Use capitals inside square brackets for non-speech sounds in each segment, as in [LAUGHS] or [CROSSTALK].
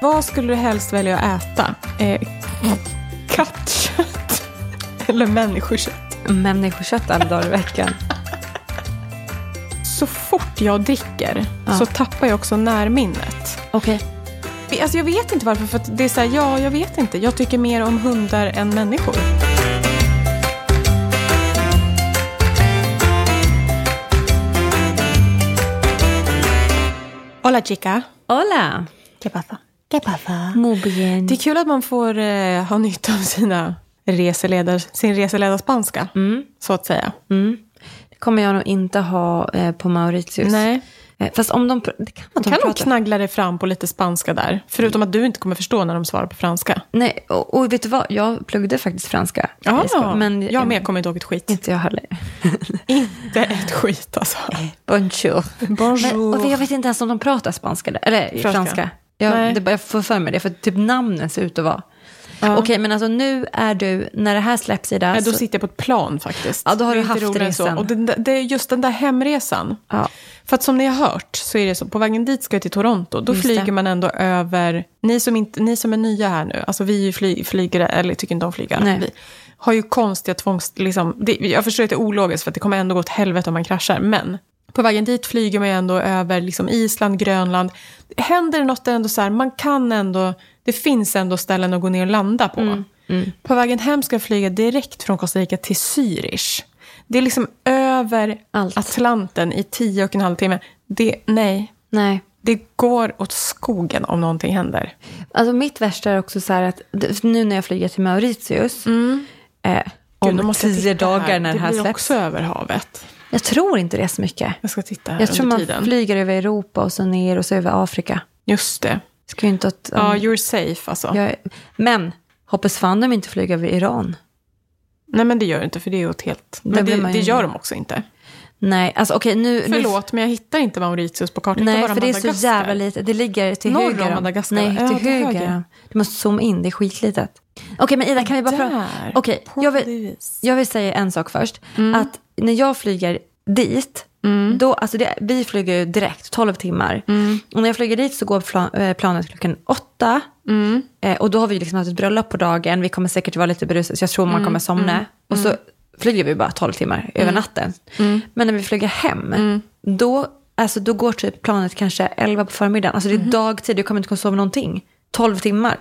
Vad skulle du helst välja att äta? Eh, kattkött [LAUGHS] eller människokött? Människokött alla dagar [LAUGHS] i veckan. Så fort jag dricker Ja. så tappar jag också närminnet. Okej. Alltså jag vet inte varför, för att det är så här, ja, jag vet inte. Jag tycker mer om hundar än människor. Hola chica. Hola! ¿Qué pasa? Muy bien. Det är kul att man får eh, ha nytta av sina reseledar, sin reseledarspanska, Mm, så att säga. mm. Det kommer jag nog inte ha eh, på Mauritius. Nej. Eh, fast om de... pr- Det kan man De de kan nog prata. knaggla dig fram på lite spanska där. Förutom att du inte kommer förstå när de svarar på franska. Nej, och, och vet du vad? Jag pluggade faktiskt franska. i skolan, men jag med kommer inte ihåg ett skit. [LAUGHS] Inte jag heller. Inte ett skit alltså. Bonjour. Men, Bonjour. och jag vet inte ens om de pratar spanska, där, eller franska. Franska. franska. Nej. Jag, det, bara- jag får för mig det, för typ namnen ser ut att vara... Okej, men alltså nu är du, när det här släpps i det här... Nej, då så- sitter jag på ett plan faktiskt. alltså- Ja, då har Det är du inte haft roligare än resan. Så. Och den, där- det är just den där hemresan. ja. För att som ni har hört så är det så, på vägen dit ska jag till Toronto, då Just flyger det. man ändå över, ni som, inte, ni som är nya här nu, alltså vi är ju fly, flygare, eller tycker inte om flygare, Nej. vi har ju konstiga tvångs, liksom, det, jag förstår att det är ologiskt för att det kommer ändå gå åt helvete om man kraschar, men på vägen dit flyger man ju ändå över liksom Island, Grönland. Händer det något det är ändå så här, man kan ändå, det finns ändå ställen att gå ner och landa på. Mm, På vägen hem ska jag flyga direkt från Costa Rica till Zürich. Det är liksom över Allt. Atlanten i tio och en halv timme. Det, nej, Nej. det går åt skogen om någonting händer. Alltså mitt värsta är också så här att för nu när jag flyger till Mauritius, eh, om Mm. Gud, nu måste jag tio titta dagar när det här Det blir släpps. också över havet. Jag tror inte det är så mycket. Jag ska titta här Jag tror under man tiden. flyger över Europa och så ner och så över Afrika. Just det. Ska ju inte att, Ja, you're safe alltså. jag, men hoppas fan de inte flyger över Iran. Nej, men det gör det inte, för det är åt helt... Där Men blir det, man det ju- gör de också inte. Nej, alltså okej nu... Förlåt, men jag hittar inte Mauritius på Nu, kartan. nej, jag hittar för bara det är så Madagaskar. jävla lite. Det ligger till Norr om höger. Madagaskar, Nej, va? till Ja, till höger. höger. Du måste zooma in, det är skitlitet. Okej, men Ida, kan vi bara prata... Där. Okej, jag vill- Portvis. Jag vill säga en sak först. Att när jag flyger dit, då, alltså det, vi flyger ju direkt 12 timmar. Och när jag flyger dit så går plan, eh, planet klockan åtta. Eh, och då har vi liksom haft ett bröllop på dagen. Vi kommer säkert vara lite berusade, så jag tror man kommer somna. Och så flyger vi bara 12 timmar över natten. Men när vi flyger hem, då, alltså, då går typ planet kanske 11 på förmiddagen. Alltså det är dagtid, du kommer inte kunna sova någonting. 12 timmar.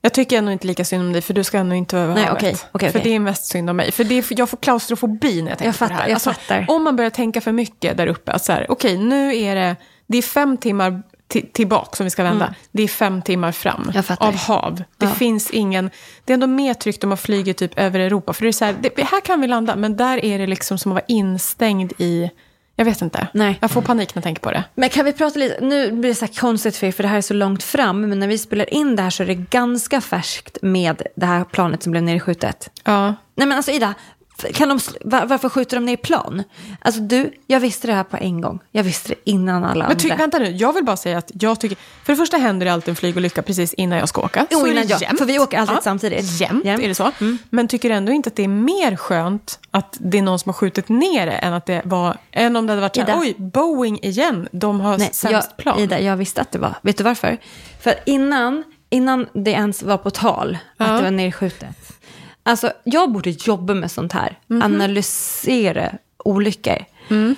Jag tycker ändå inte lika synd om dig, för du ska ändå inte över Nej, havet. okej, okej, för okej. det är mest synd om mig. För det är, jag får klaustrofobi när jag tänker Jag på det fattar, här. Alltså, jag fattar. Om man börjar tänka för mycket där uppe, att så här, okej, nu är det, det är fem timmar ti- tillbaka som vi ska vända. Det är fem timmar fram Mm. Jag fattar. av hav. Det finns ingen... Det är ändå mer tryggt om man flyger typ över Europa. För det är så här, det, här kan vi landa, men där är det liksom som att vara instängd i... Jag vet inte. Nej. Jag får panik när jag tänker på det. Men kan vi prata lite, nu blir det så här konstigt för er för det här är så långt fram, men när vi spelar in det här så är det ganska färskt med det här planet som blev nerskjutet. Ja. Nej men alltså Ida, kan de, sl- va- varför skjuter de ner plan? Alltså du, jag visste det här på en gång. Jag visste det innan alla Men ty, andra. vänta nu, jag vill bara säga att jag tycker... För det första händer det alltid en flygolycka precis innan jag ska åka. Jo, Så är innan det jag, jämt. för vi åker alltid Ja, samtidigt. Mm. Jämt, är det så. Men tycker ändå inte att det är mer skönt att det är någon som har skjutit ner det än, att det var, än om det hade varit så här, Ida. oj, Boeing igen, de har Nej, sämst jag, plan. Ida, jag visste att det var. Vet du varför? För innan, innan det ens var på tal att det var nerskjutet. Alltså, jag borde jobba med sånt här. Mhm. Analysera olyckor. Mm.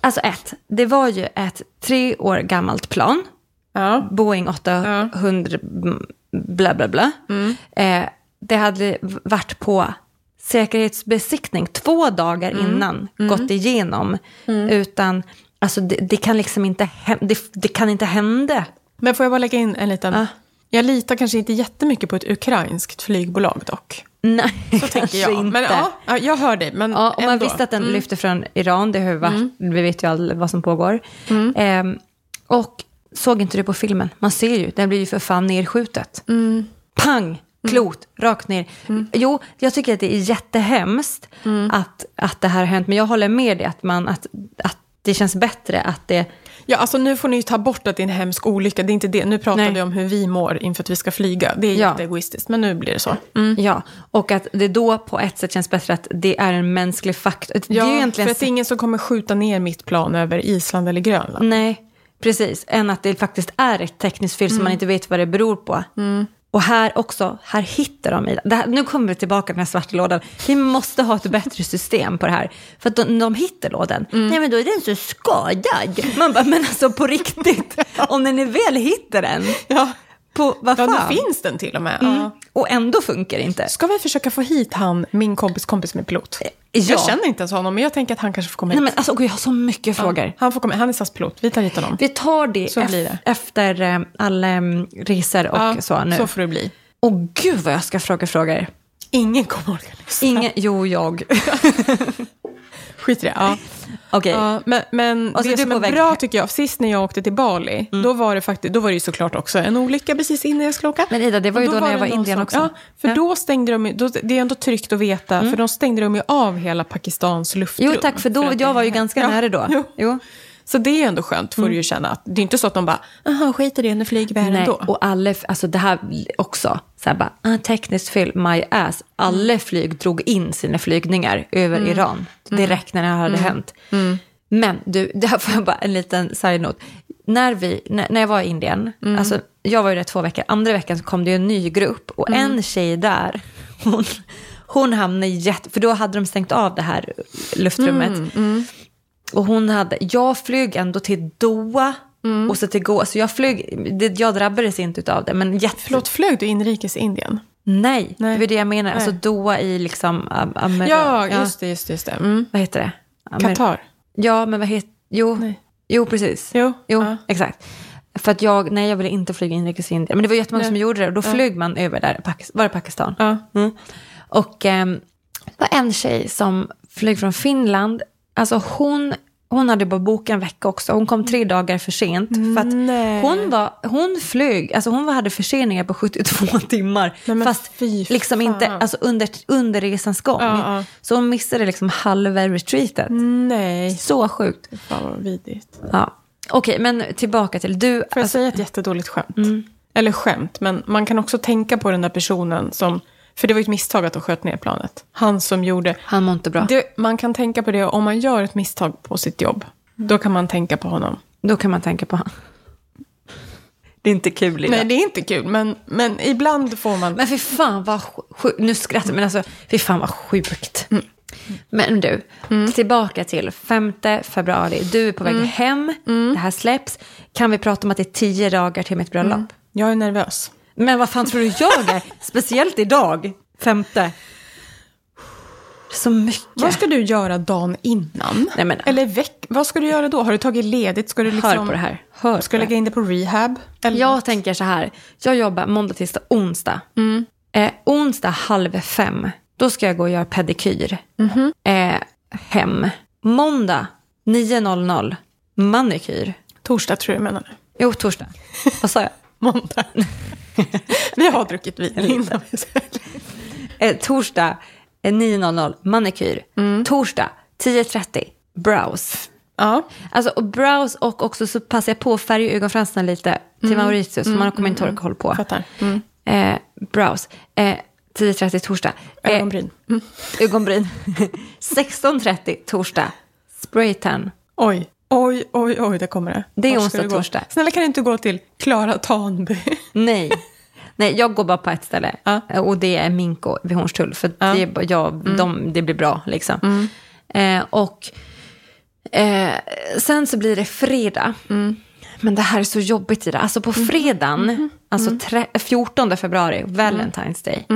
Alltså ett, det var ju ett tre år gammalt plan. Ja. Boeing 800 mm, bla bla bla. Mm. Eh, det hade v- varit på säkerhetsbesiktning två dagar Mm. innan gått igenom. Utan, alltså det, det kan liksom inte hä- det, det kan inte hända. Men får jag bara lägga in en liten... Ah. Jag litar kanske inte jättemycket på ett ukrainskt flygbolag dock. Nej, så Tänker jag. Men, ja, ja, jag hör dig, men Alltså Ja, och man ändå. Mm. visste att den lyfte från Iran, det har ju varit, vi vet ju all, vad som pågår. Mm. Ehm, och såg inte du på filmen? Man ser ju, den blir ju för fan nerskjutet. Mm. Pang! Klot, rakt ner. Jo, jag tycker att det är jättehemskt Mm. att, att det här har hänt, men jag håller med dig att, man, att, att det känns bättre att det... Ja, alltså nu får ni ju ta bort att det är en hemsk olycka. Det är inte det. Nu pratar Nej. vi om hur vi mår inför att vi ska flyga. Det är Ja. Mm. jätteegoistiskt, men nu blir det så. Ja, och att det då på ett sätt känns bättre att det är en mänsklig faktor. det är ju Ja, egentligen Mm. för att det är ingen som kommer skjuta ner mitt plan över Island eller Grönland. Nej, Precis, än att det faktiskt är ett tekniskt fel Mm. som man inte vet vad det beror på. Och här också, här hittar de i det. Här, nu kommer vi tillbaka till den här svarta lådan. Vi måste ha ett bättre system på det här. För att de, de hittar lådan, Mm. nej men då är den så skadad. Man bara, men alltså på riktigt, [LAUGHS] om ni väl hittar den, Ja, på vad ja fan? Mm. nu finns den till och med. Ja. Och ändå funkar det inte. Ska vi försöka få hit han, min kompis kompis som är pilot? Jag känner inte ens honom, men jag tänker att han kanske får komma hit. Eh, Nej, men alltså, gud, jag har så mycket frågor. Han, får komma, han är SAS-pilot, vi tar hit honom. Vi tar det, Så ef- blir det. efter eh, alla em, resor och Ja, så nu. så får det bli. Och gud vad jag ska fråga frågor. Ingen kommer orka lyssna. Ingen, jo, jag. Skit i det. Ja. Okej. Ja, men men Och så är det du som på är väg- Mm. bra tycker jag, sist när jag åkte till Bali, då, var det faktiskt, då var det ju såklart också en olycka precis innan jag skulle åka. Men Ida, det var Och ju då när jag det var i någon Indien som- också. Ja, för Ja. Mm. då stängde de ju, då, det är ändå tryggt att veta, för då stängde de ju av hela Pakistans luftrum. Jo, tack, för då, att jag det- var ju ganska Ja, nära då. Jo. Jo. Så det är ju ändå skönt, får du ju känna. Att, det är inte så att de bara, jaha, skit i det, nu flyger vi här Nej, ändå. och alla, alltså det här också, så här bara, ah, tekniskt fel, my ass. Alla flyg drog in sina flygningar över Iran direkt när det här hade hänt. Men du, [LAUGHS] det här får jag bara en liten side-note. När, vi, när, när jag var i Indien, alltså, jag var ju där två veckor, andra veckan så kom det ju en ny grupp och en tjej där, hon, hon hamnade i jätte... För då hade de stängt av det här luftrummet. Och hon hade, jag flög ändå till Doha Mm. och så till Goa. Så jag flög, det, jag drabbades inte av det. Men jätte... Förlåt, flög du inrikes i Indien? Nej, Nej. det var det jag menar. Alltså Nej. Doha i liksom... Am- Amer- Ja, just det, just det. Just det. Mm. Vad heter det? Amer- Qatar? Ja, men vad heter... Jo, Nej. jo precis. Jo. Jo, Ja. exakt. För att jag, nej jag ville inte flyga inrikes i Indien. Men det var jättemånga som gjorde det och då flög man över där, Pakis- var det Pakistan? Ja. Mm. Och ehm, det var en tjej som flög från Finland. Alltså hon, hon hade bara bokat en vecka också. Hon kom tre dagar för sent. För att Mm, Nej. hon, var, hon flög, alltså hon var- hade förseningar på 72 [LAUGHS] timmar. Nej, men fast fy liksom inte, fan. alltså under, under resans gång. Ja, ja. Så hon missade liksom halva retreatet. Nej, Så sjukt. fan vad vidrigt. Får Ja. Okej, men tillbaka till du. jag säga ett jättedåligt skämt? Mm. Eller skämt, men man kan också tänka på den där personen som... För det var ju ett misstag att de sköt ner planet. Han som gjorde... Han mår inte bra. Det, man kan tänka på det om man gör ett misstag på sitt jobb. Då kan man tänka på honom. Då kan man tänka på han. Det är inte kul Nej, det är inte kul, men, men ibland får man... Men fy fan vad sjukt. Nu skrattar jag, men alltså fy fan vad sjukt. Mm. Men du, tillbaka till 5 februari. Du är på Mm. väg hem, det här släpps. Kan vi prata om att det är tio dagar till mitt bröllop? Jag är nervös. Men vad fan tror du jag är? Speciellt idag, femte. Så mycket. Vad ska du göra dagen innan? Nej, men- Eller veck... Vad ska du göra då? Har du tagit ledigt? Ska du liksom... Hör på det här. Ska Hör du på det lägga in det på rehab? Eller... Jag tänker så här, jag jobbar måndag, tisdag, onsdag. Eh, onsdag halv fem, då ska jag gå och göra pedikyr. Eh, hem. Måndag 9.00, manikyr. Torsdag tror jag du menar. Jo, torsdag. Vad sa jag? [LAUGHS] Måndag. vi har druckit vin innan. vi säger. Eh, torsdag eh, 9.00, manikyr. Torsdag 10.30, brows. ja. Alltså och brows och också så passar jag på att färga ögonfransarna lite till Mauritius, för man kommer inte orka hålla på. Fattar. Eh, brows. Eh, 10.30 torsdag. Eh, Ögonbryn. ögonbryn. [LAUGHS] 16.30 torsdag. Spraytan. Oj. Oj, oj, oj, där kommer det. Det är Vart ska onsdag, du gå? torsdag. Snälla kan du inte gå till Klara Tanby? [LAUGHS] Nej. Nej, jag går bara på ett ställe. Ja. Mm. Och det är Minko vid Hornstull. För det, är bara- jag, de, det blir bra liksom. Eh, och eh, sen så blir det fredag. Mm. Men det här är så jobbigt i det. Alltså på fredagen, alltså Mm. tre- 14 februari, Valentine's Day.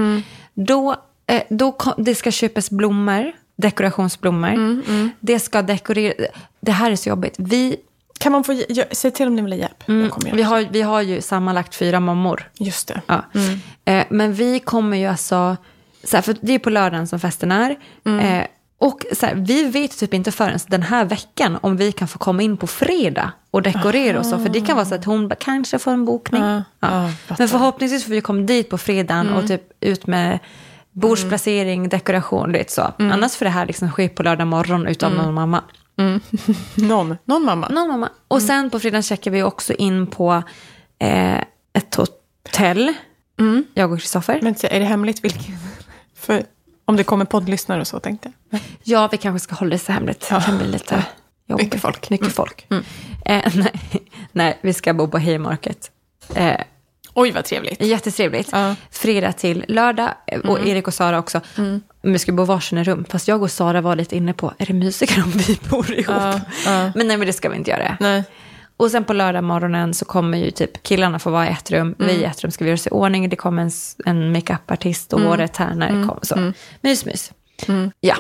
Då, eh, då kom, det ska köpas blommor, dekorationsblommor. Mm, Det ska dekorera. Det här är så jobbigt. Vi, Kan man få... ge- gö- Säg till om ni vill ha hjälp. Jag kommer Mm. vi, göra. har, vi har ju sammanlagt fyra mammor. Just det. Ja. Eh, men vi kommer ju alltså, så här, för det är på lördagen som festen är. Mm. Eh, och så här, vi vet typ inte förrän den här veckan om vi kan få komma in på fredag och dekorera och så. För det kan vara så att hon bara, kanske får en bokning. Ja, ja, Ja. fattar. Mm. Men förhoppningsvis får vi komma dit på fredagen och typ ut med bordsplacering, dekoration, du vet så. Mm. Annars får det här liksom ske på lördag morgon utan någon mamma. Någon, någon mamma. Någon mamma. Och Mm. sen på fredagen checkar vi också in på eh, ett hotell. Jag och Kristoffer. Men är det hemligt vilken? [LAUGHS] För om det kommer poddlyssnare och så tänkte jag. Ja, Mm. vi kanske ska hålla det så hemligt. Det kan bli lite jobbigt. Mycket folk. Mycket folk. Eh, [LAUGHS] nej, Nej, vi ska bo på Haymarket. Eh, Oj, vad trevligt. Jättetrevligt. Ja. Mm. Fredag till lördag eh, och Erik och Sara också. Men Vi skulle bo varsin rum, fast jag och Sara var lite inne på, är det mysigare om vi bor ihop? Ja, ja. [LAUGHS] Men nej, men det ska vi inte göra. Nej. Och sen på lördag morgonen så kommer ju typ killarna få vara i ett rum, vi i Mm. ett rum ska vi göra oss i ordning, det kommer en, s- en makeup-artist och håret här när Mm. det kommer. Så. Mys, mys. Ja.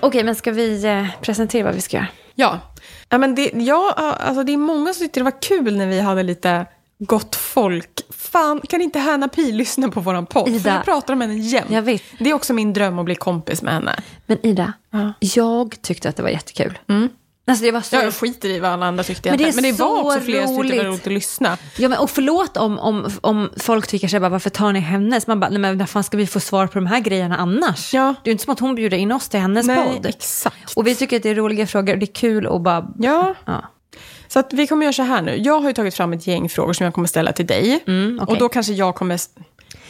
Okej, men ska vi eh, presentera vad vi ska göra? Ja. ja, men det, ja, alltså det är många som tyckte det var kul när vi hade lite gott folk. Fan, kan inte Hanna Pi lyssna på våran podd? Ida. För vi pratar om henne jämt. Jag vet. Det är också min dröm att bli kompis med henne. Men Ida, Ja. Mm. jag tyckte att det var jättekul. Alltså det var så... Ja, jag skiter i vad alla andra tyckte. Men det är egentligen. men det var så också flera som tyckte det var roligt. roligt att lyssna. Ja, men, och förlåt om, om, om folk tycker så här, bara, varför tar ni hennes? Man bara, nej men när fan ska vi få svar på de här grejerna annars? Ja. Det är ju inte som att hon bjuder in oss till hennes Nej, podd. exakt. Och vi tycker att det är roliga frågor och det är kul och bara... Ja, Ja. så att vi kommer göra så här nu. Jag har ju tagit fram ett gäng frågor som jag kommer ställa till dig. Mm, okej. Och då kanske jag kommer...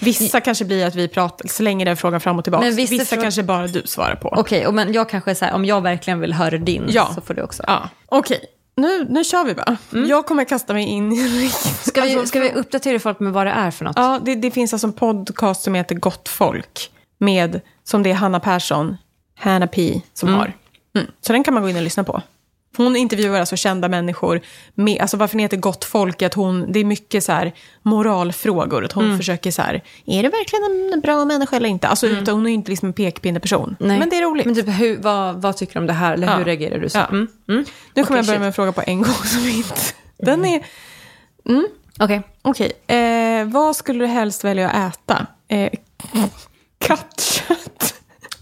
Vissa kanske blir att vi pratar, slänger den frågan fram och tillbaka. Men vissa vissa frå- kanske bara du svarar på. Okej, och men jag kanske så här, om jag verkligen vill höra din Ja. så får du också. Ja, okej. Nu, nu kör vi bara. Jag kommer kasta mig in i riktigt. Mm. Ska vi, Alltså, ska vi uppdatera folk med vad det är för något? Ja, det, det finns alltså en podcast som heter Gott folk. Med, som det är Hanna Persson, Hanna P, som har. Mm. Så den kan man gå in och lyssna på. Hon intervjuar alltså kända människor. Med, alltså varför den heter Gott folk är att hon, det är mycket så här moralfrågor. Att hon Mm. försöker så här, är det verkligen en bra människa eller inte? Alltså utan, hon är ju inte liksom en pekpinneperson. Mm. Nej. Men det är roligt. Men typ, hur, vad, vad tycker du om det här? Eller hur Ja. reagerar du? Så? Ja. Mm. Mm. Nu kommer jag Okej, börja shit. Mm. med en fråga på en gång som inte... Den är... Okej. Okej. Eh, vad skulle du helst välja att äta? Eh, kattkött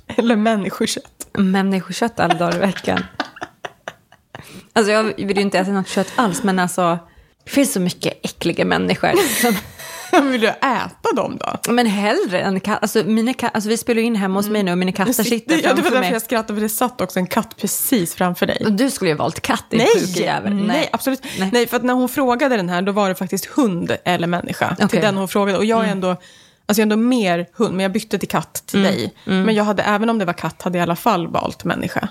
eller människokött? Människokött alla dagar [LAUGHS] i veckan. Alltså jag vill ju inte äta något kött alls, men alltså det finns så mycket [LAUGHS] äckliga människor. Som, Vill du äta dem då? men hellre än katt. Alltså, mina ka- alltså vi spelar ju in hemma hos mig nu och mina katter sitter Mm. ja, det var framför därför mig. jag skrattade, för det satt också en katt precis framför dig. Och Du skulle ju ha valt katt, din sjuke jävel. nej, absolut. typ. Mm. Nej. Nej. för att när hon frågade den här, då var det faktiskt hund eller människa. Okej. Mm. Till den hon frågade. Och jag är ändå, alltså jag är ändå mer hund, men jag bytte till katt till dig. Mm. Men jag hade, även om det var katt, hade jag i alla fall valt människa.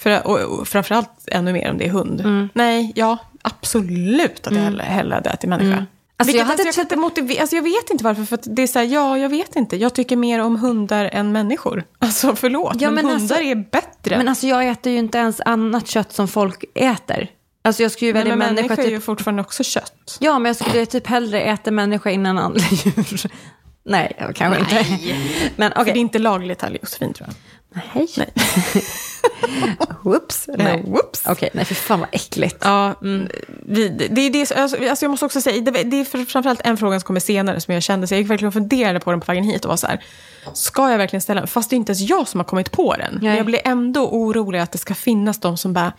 För, och, och framförallt ännu mer om det är hund. Mm. Nej, ja, absolut att jag hellre, hellre hade ätit människa. Alltså, Alltså, jag jag, hade typ- alltså, jag, kan inte motivera, alltså, jag vet inte varför, för att det är så här, ja, jag vet inte. Jag tycker mer om hundar än människor. [LAUGHS] Alltså förlåt, Ja, men, men hundar alltså- är bättre. Men alltså jag äter ju inte ens annat kött som folk äter. Alltså jag skulle ju Nej, välja men människa, människor är typ ju fortfarande också kött. Ja, men jag skulle typ hellre äta människa innan andra [LAUGHS] djur. Nej, jag kanske inte. Men okej. För det är inte lagligt här, Josefin, tror jag. Nej. [LAUGHS] Whoops. Nej. whoops. Okej, nej för fan vad äckligt. Ja, mm. vi, det, det, är det, som- alltså, alltså jag måste också säga, det, det är för- framförallt en fråga som kommer senare som jag kände, så jag gick verkligen och funderade på den på vägen hit och var så här, ska jag verkligen ställa den? Fast det är inte ens jag som har kommit på den. Men jag blir ändå orolig att det ska finnas de som bara,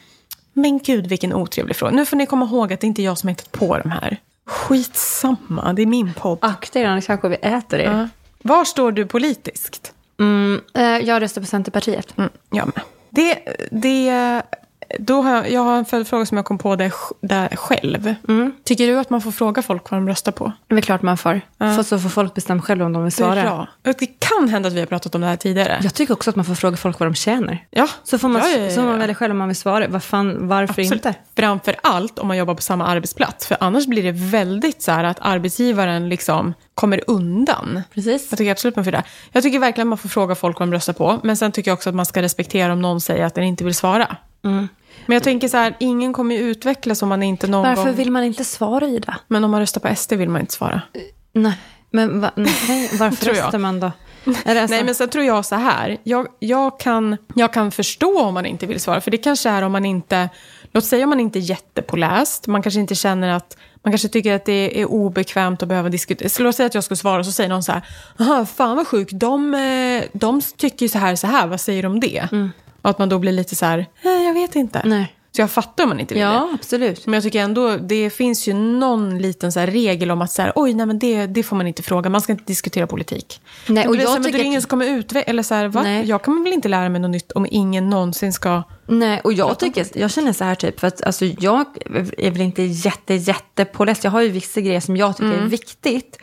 men gud vilken otrevlig fråga. Nu får ni komma ihåg att det inte är jag som har hittat på de här. Skitsamma, det är min podd. Akta er annars kanske vi äter er. Ja. Var står du politiskt? Mm, eh, jag röstar på Centerpartiet. Mm, jag med. Det, det, då har jag, jag har en följdfråga som jag kom på där, sj- där själv. Tycker du att man får fråga folk vad de röstar på? Det är väl klart man får. För så får folk bestämma själva om de vill svara. Bra. Det kan hända att vi har pratat om det här tidigare. Jag tycker också att man får fråga folk vad de tjänar. Ja. Så får man, Ja, ja, ja, ja. så får man välja själv om man vill svara. Vad fan, varför Absolut. inte? Framför allt om man jobbar på samma arbetsplats. För annars blir det väldigt så här att arbetsgivaren liksom kommer undan. Precis. Jag tycker absolut man får det. Jag tycker verkligen man får fråga folk vad de röstar på. Men sen tycker jag också att man ska respektera om någon säger att den inte vill svara. Men jag tänker så här, ingen kommer ju utvecklas om man inte någon Varför gång... vill man inte svara, Ida? Men om man röstar på SD vill man inte svara. Nej, men va, nej, varför [LAUGHS] Tror jag. röstar man då? Är det alltså- Nej, men sen tror jag så här. Jag, jag, kan, jag kan förstå om man inte vill svara, för det kanske är om man inte... Låt säga om man inte är jättepåläst, man kanske inte känner att... Man kanske tycker att det är obekvämt att behöva diskutera. Så låt säga att jag skulle svara, så säger någon så här, Aha, fan vad sjuk, de, eh, de tycker ju så här, så här, vad säger de om det? Och att man då blir lite så här, nej, jag vet inte. Mm. Nej. Så jag fattar om man inte vill det. Ja, absolut. Men jag tycker ändå, det finns ju någon liten så här regel om att så här, oj, nej men det, det får man inte fråga, man ska inte diskutera politik. Nej, och Men det är jag så här, men det tycker är att- ingen som kommer utveckla, eller så här, va? Nej. Jag kan väl inte lära mig något nytt om ingen någonsin ska... Nej, och jag, tycker, jag känner så här typ, för att alltså, jag är väl inte jätte, jätte påläst. Jag har ju Mm. vissa grejer som jag tycker är viktigt.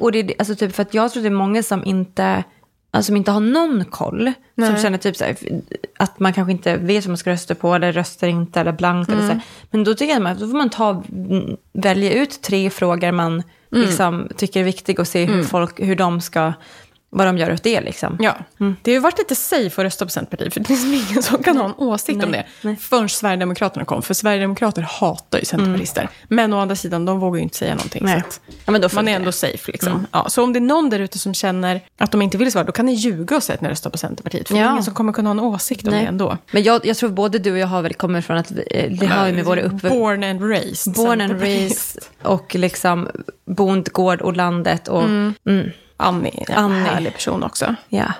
Och det, är- alltså, typ, för att jag tror det är många som inte alltså, som inte har någon koll. Som Nej. känner typ så här, att man kanske inte vet vad man ska rösta på eller röstar inte eller blankt. Eller så Mm. här. Men då tycker jag att man, då får man ta, välja ut tre frågor man Mm. liksom, tycker är viktiga och se hur, folk, hur de ska, vad de gör åt det. Liksom. Ja, Mm. det har ju varit lite safe att rösta på Centerpartiet, för det är liksom ingen som kan ha en åsikt om det. Nej, nej. Förrän Sverigedemokraterna kom, för Sverigedemokrater hatar ju centerpartister. Men å andra sidan, de vågar ju inte säga någonting. Mm. Nej. Så att Ja, men då man är funkar ändå safe. Liksom. Mm. Ja, så om det är någon där ute som känner att de inte vill svara, då kan ni ljuga och säga att ni röstar på Centerpartiet. För det är Ja. ingen som kommer kunna ha en åsikt om Nej. det ändå. Men jag, jag tror både du och jag har väl kommit från att vi, eh, det har ju med våra uppväxter... Born and raised. Born and Centerpartiet. raised och liksom bondgård och landet och... Mm, Annie är en Annie. Mm. härlig person också. ja.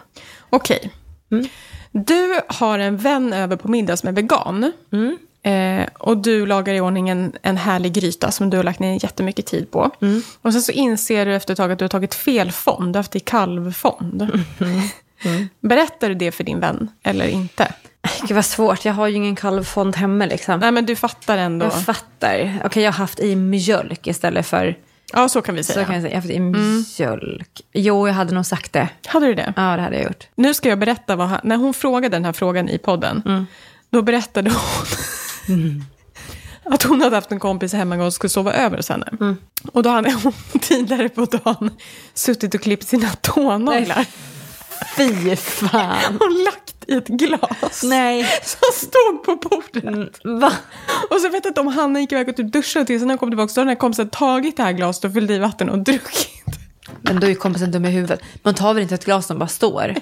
Okej. Du har en vän över på middag som är vegan. Mm. Eh, och du lagar i ordning en, en härlig gryta som du har lagt ner jättemycket tid på. Mm. Och sen så inser du efter ett tag att du har tagit fel fond, du har haft i kalvfond. Mm. Berättar du det för din vän eller inte? Gud vad svårt, jag har ju ingen kalvfond hemma liksom. Nej men du fattar ändå. Jag fattar. Okej, jag har haft i mjölk istället för... ja så kan vi säga. Så kan jag säga, jag har haft i mjölk. Jo, jag hade nog sagt det. Hade du det? Ja, det hade jag gjort. Nu ska jag berätta vad han, när hon frågade den här frågan i podden, då berättade hon [LAUGHS] att hon hade haft en kompis hemma en gång och skulle sova över hos henne. Och då hade hon [LAUGHS] tidigare på dagen suttit och klippt sina tånaglar Fy fan. och lagt i ett glas. Nej. [LAUGHS] Som stod på bordet. Mm, Va? Och så vet jag inte om han gick iväg och typ duschade till, sen när han kom tillbaka så hade den här kompisen tagit det här glaset och fyllde i vatten och druckit. Men då är ju kompisen dum i huvudet. Man tar väl inte ett glas som bara står?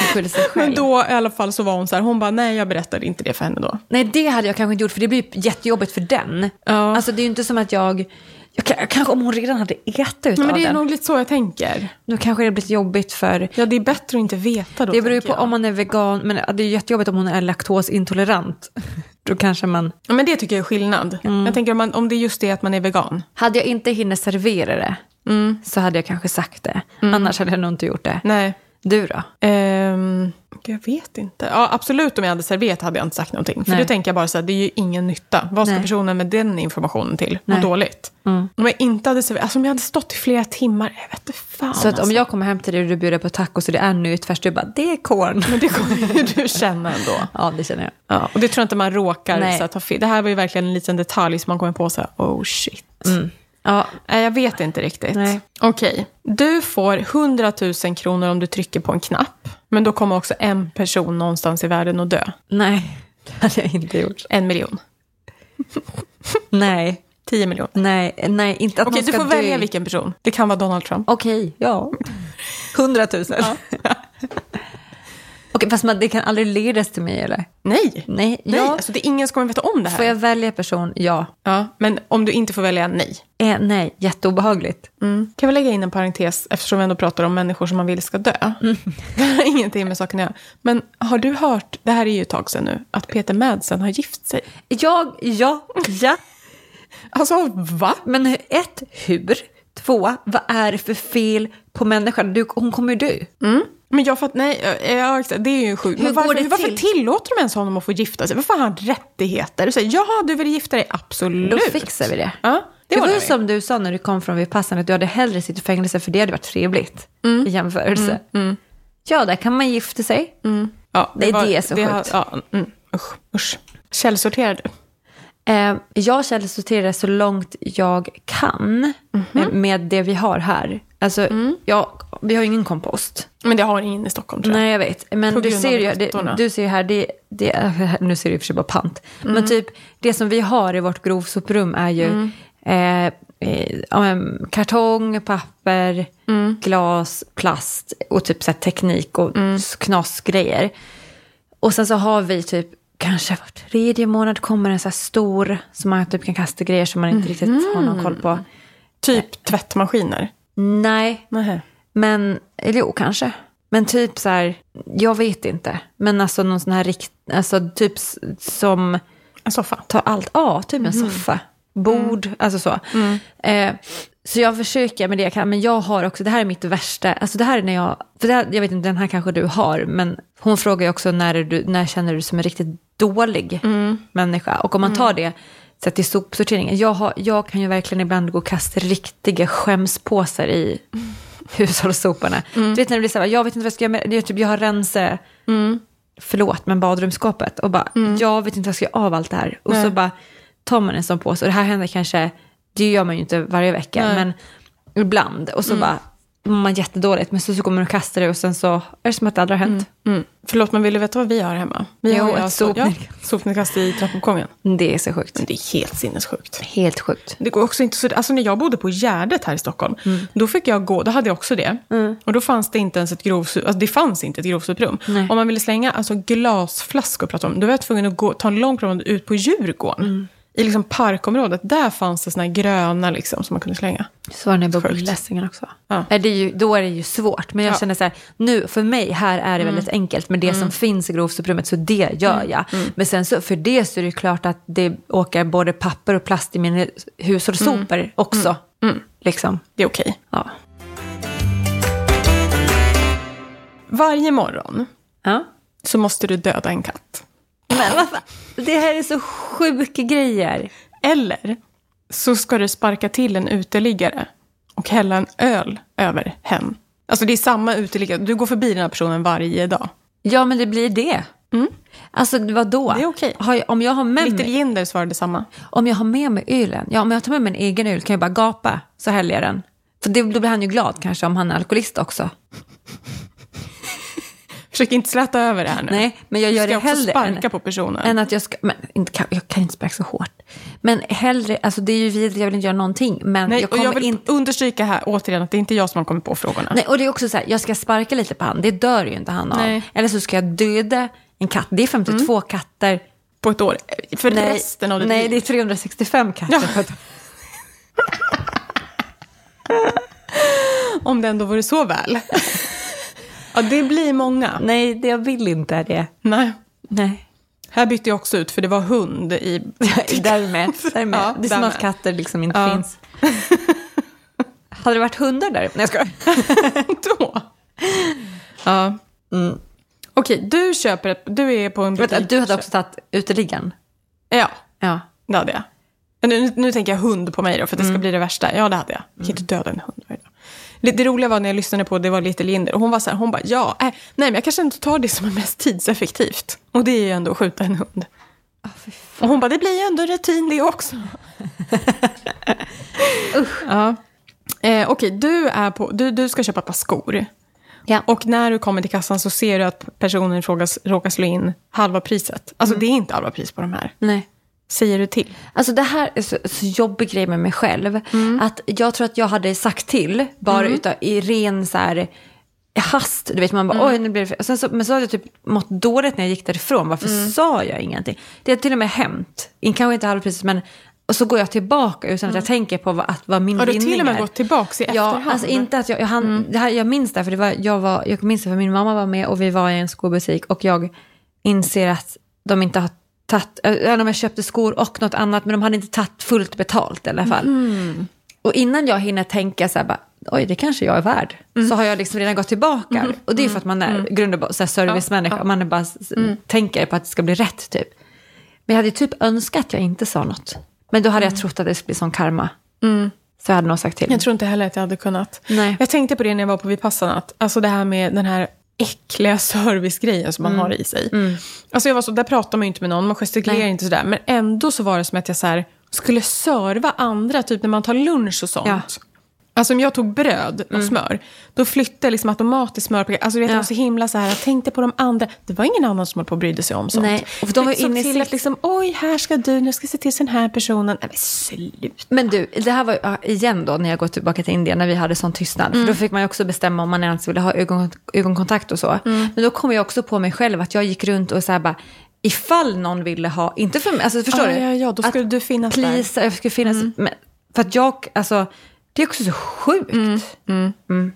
Man skyller sig själv. Men då i alla fall så var hon så här, hon bara nej jag berättade inte det för henne då. Nej, det hade jag kanske inte gjort för det blir ju jättejobbigt för den. Ja. Alltså det är ju inte som att jag... jag kan- kanske om hon redan hade ätit utav Nej, men det är den, nog lite så jag tänker. då kanske det hade blivit jobbigt för... Ja, det är bättre att inte veta då. Det beror ju tänker på jag. om man är vegan, men det är ju jättejobbigt om hon är laktosintolerant. [LAUGHS] Då kanske man... Ja, men det tycker jag är skillnad. Mm. Jag tänker om, man, om det är just det att man är vegan. Hade jag inte hinner servera det Mm. så hade jag kanske sagt det. Annars hade jag nog inte gjort det. Nej. Du då? Ehm, jag vet inte. Ja, absolut, om jag hade serverat hade jag inte sagt någonting. För Nej. då tänker jag bara så här, det är ju ingen nytta. Vad ska Nej. personen med den informationen till? Vad Nej. Mm. dåligt. Om jag inte hade serverat, alltså om jag hade stått i flera timmar, jag vet inte fan. Så att om alltså. [LAUGHS] jag kommer hem till dig och du bjuder på tacos och det är nytt du bara det är korn. Men det kommer ju du känna ändå. Ja, det känner jag. Ja, och det tror jag inte man råkar Nej. så här, ta fel. Det här var ju verkligen en liten detalj som man kommer på så här, oh shit. Ja, Nej, jag vet inte riktigt. Nej. Okej. Du får 100 000 kronor om du trycker på en knapp. Men då kommer också en person någonstans i världen att dö. nej. [LAUGHS] Det hade jag inte gjort. En miljon. Nej, 10 miljoner. nej, nej. Inte att Okej, någon du ska får dö. välja vilken person. Det kan vara Donald Trump. Okej, ja. Hundratusen. [LAUGHS] Okej, fast man, det kan aldrig ledas till mig eller? Nej! Nej, Nej, ja. alltså det är ingen som kommer veta om det här. Får jag välja person? Ja. Ja, men om du inte får välja, nej. Eh, nej, jätteobehagligt. Kan vi lägga in en parentes, eftersom vi ändå pratar om människor som man vill ska dö? Mm. [LAUGHS] Det har ingenting med saken att göra. Men har du hört, det här är ju ett tag sedan nu, att Peter Madsen har gift sig? Jag, ja, ja. Alltså, va? Men hu- ett, hur? Två, vad är det för fel på människan? Du, hon kommer ju dö. Mm. Men jag fattar, nej, ja, ja, exakt, det är ju sjukt. Hur Men varför, går det varför till? tillåter de ens honom att få gifta sig? Varför har han rättigheter? Du säger, jaha, du vill gifta dig? Absolut. Då fixar vi det. Ja, det, Det, var ordnar ju vi. som du sa när du kom från Vipassan, att du hade hellre suttit i fängelse för det hade varit trevligt Mm. i jämförelse. Ja, där kan man gifta sig. Ja, Nej, det är så har- sjukt. Ja, mm, usch, usch. Källsorterar du? Eh, jag källsorterar det så långt jag kan med, med det vi har här. Alltså, jag, vi har ju ingen kompost. Men det har ingen i Stockholm, tror jag. Nej, jag vet. Men På du grund ser, av ju, det, råttorna. du ser ju här, det, det, är- [LAUGHS] nu ser det i och för sig bara pant. Mm. Men typ det som vi har i vårt grovsoprum är ju eh, eh, ja, men kartong, papper, Mm. glas, plast och typ så här teknik och s- knasgrejer. Och sen så har vi typ kanske var tredje månad kommer en så här stor som man typ kan kasta grejer som Mm. man inte riktigt har någon koll på. Typ tvättmaskiner. Nej, Nej. men, eller jo kanske. Men typ så här, jag vet inte. Men alltså någon sån här rikt, alltså typ s- som En soffa. tar allt, ja typ en soffa, bord, alltså så. Eh, så jag försöker med det jag kan, men jag har också, det här är mitt värsta, alltså det här är när jag, för det här, jag vet inte, den här kanske du har, men hon frågar ju också när, är du, när känner du dig som en riktigt dålig människa? Och om man tar det så här, till sopsorteringen, jag, har, jag kan ju verkligen ibland gå och kasta riktiga skämspåsar i [LAUGHS] hushållssoporna. Du vet när det blir så här, jag vet inte vad jag ska göra med det, är typ, jag har rense, förlåt men badrumsskåpet och bara, jag vet inte vad jag ska göra av allt det här. Och så Mm. Nej. bara tar man en sån påse och det här händer kanske, det gör man ju inte varje vecka, Nej. Mm. men ibland. Och så bara mår man jättedåligt men så, så kommer man och kastar det och sen så är det som att det aldrig har hänt. Mm. Förlåt, men vill du veta vad vi har hemma? Vi Jo, har ju ett alltså- sopnedkast. Ja, sopnedkast i trappuppgången. Det är så sjukt. Men det är helt sinnessjukt. Helt sjukt. Det går också inte så, alltså när jag bodde på Gärdet här i Stockholm, då fick jag gå, då hade jag också det. Och då fanns det inte ens ett grovsoprum, alltså det fanns inte ett grovsoprum. Nej. Om man ville slänga alltså glasflaskor, pratar vi om, då var jag tvungen att gå, ta en lång promenad ut på Djurgården. I liksom parkområdet, där fanns det såna här gröna liksom, som man kunde slänga. Så var det när Sjukt. bubbelläsningen också. Ja. Nej, Det är ju, då är det ju svårt. Men jag Ja. Mm. känner så här, nu för mig här är det väldigt enkelt. Men det som finns i grovsoprummet, så det gör jag. Mm. Men sen så, för det så är det ju klart att det åker både papper och plast i min hu- Mm. hushållssopor också. Liksom. Det är okej. Ja. Varje morgon ja. så måste du döda en katt. Men vad fan, det här är så sjuka grejer. Eller så ska du sparka till en uteliggare och hälla en öl över hen. Alltså det är samma uteliggare, du går förbi den här personen varje dag. Ja, men det blir det. Mm. Alltså vadå? Det är okej. Har jag- Om jag [LAUGHS] har med Little mig, Jinder svarade samma. om jag har med mig ylen, ja om jag tar med mig en egen yl kan jag bara gapa så häller jag den. För det, då blir han ju glad kanske om han är alkoholist också. Försök inte släta över det här nu. Nej, men jag du gör ska det också hellre sparka än, på personen. än att jag ska... Men inte, kan- jag kan inte sparka så hårt. Men hellre, alltså det är ju vidrigt, jag vill inte göra någonting. Men Nej, jag och kommer jag vill inte... understryka här återigen att det är inte jag som har kommit på frågorna. Nej, och det är också så här, jag ska sparka lite på han, det dör ju inte han av. Nej. Eller så ska jag döda en katt, det är 52 katter. På ett år. För Nej, resten av ditt nej liv. det är 365 katter. Ja. Om det ändå vore så [LAUGHS] väl. ja, det blir många. Nej, det- jag vill inte det. Nej. Nej. Här bytte jag också ut för det var [LAUGHS] hund [LAUGHS] i... Därmed. [LAUGHS] därmed. Ja, det är som därmed. att katter liksom inte Ja. finns. [LAUGHS] Hade det varit hundar där? Nej, jag skojar. då. Ja. Okej, du köper ett... Du är på en butik. Mm. Vänta, du hade också tagit uteliggaren? Ja, Ja. det hade jag. Men Nu, nu tänker jag hund på mig då, för att det ska bli det värsta. Ja, det hade jag. Jag kan inte döda en hund varje dag. Det, det roliga var när jag lyssnade på, det var lite Linder. Och hon var så här, hon bara, ja, äh, nej men jag kanske inte tar det som är mest tidseffektivt. Och det är ju ändå att skjuta en hund. Och hon bara, det blir ju ändå rutin det också. Ja. Eh, Okej, du, är på- du, du ska köpa ett par skor. Ja. Och när du kommer till kassan så ser du att personen i fråga s- råkar slå in halva priset. Alltså det är inte halva pris på de här. Nej. Säger du till? Alltså det här är så, så jobbig grej med mig själv. Att jag tror att jag hade sagt till, bara utav, i ren så här, hast. Du vet, man bara oj nu blir det fel." Och sen så, Men så hade jag typ mått dåligt när jag gick därifrån. Varför sa jag ingenting? Det har till och med hänt. In- Kanske inte halvpriset men och så går jag tillbaka utan att jag tänker på vad, att, vad min Har du vinning till och med är. gått tillbaks i Ja, efterhand? alltså inte att jag, jag, hann, det här, jag minns det här, för det var, jag, var, jag minns det för min mamma var med och vi var i en skobutik och jag inser att de inte har tagit, äh, de köpte skor och något annat men de hade inte tagit fullt betalt i alla fall. Och innan jag hinner tänka så här bara, oj det kanske jag är värd, så har jag liksom redan gått tillbaka. Och det är för att man är grund och botten så här servicemänniska, man är bara, s- tänker på att det ska bli rätt typ. Men jag hade ju typ önskat att jag inte sa något. Men då hade jag trott att det skulle bli sån karma. Så jag hade nog sagt till. Jag tror inte heller att jag hade kunnat. Nej. Jag tänkte på det när jag var på Vipassana, att, alltså det här med den här äckliga [LAUGHS] servicegrejen som man Mm. har i sig. Alltså jag var så, där pratar man ju inte med någon, man gestikulerar Nej. inte sådär. Men ändå så var det som att jag så här, skulle serva andra, typ när man tar lunch och sånt. Ja. Mm. Alltså om jag tog bröd och smör, då flyttade liksom automatiskt smörpaketet. Alltså du vet, jag Ja. var så himla så här, jag tänkte på de andra. Det var ingen annan som höll på och brydde sig om sånt. Nej, och de var Jag såg inne i till sitt- att liksom, oj, här ska du, nu ska jag se till så den här personen. Nej, men sluta. Men du, det här var ju ja, igen då när jag går tillbaka till Indien när vi hade sån tystnad. Mm. För då fick man ju också bestämma om man ens ville ha ögon, ögonkontakt och så. Mm. Men då kom jag också på mig själv att jag gick runt och så här bara, ifall någon ville ha, inte för mig, alltså förstår Ja, du? ja, ja, då Att skulle du finnas där. Mm. please, Jag skulle finnas, men, för att jag, alltså, det är också så sjukt. Mm.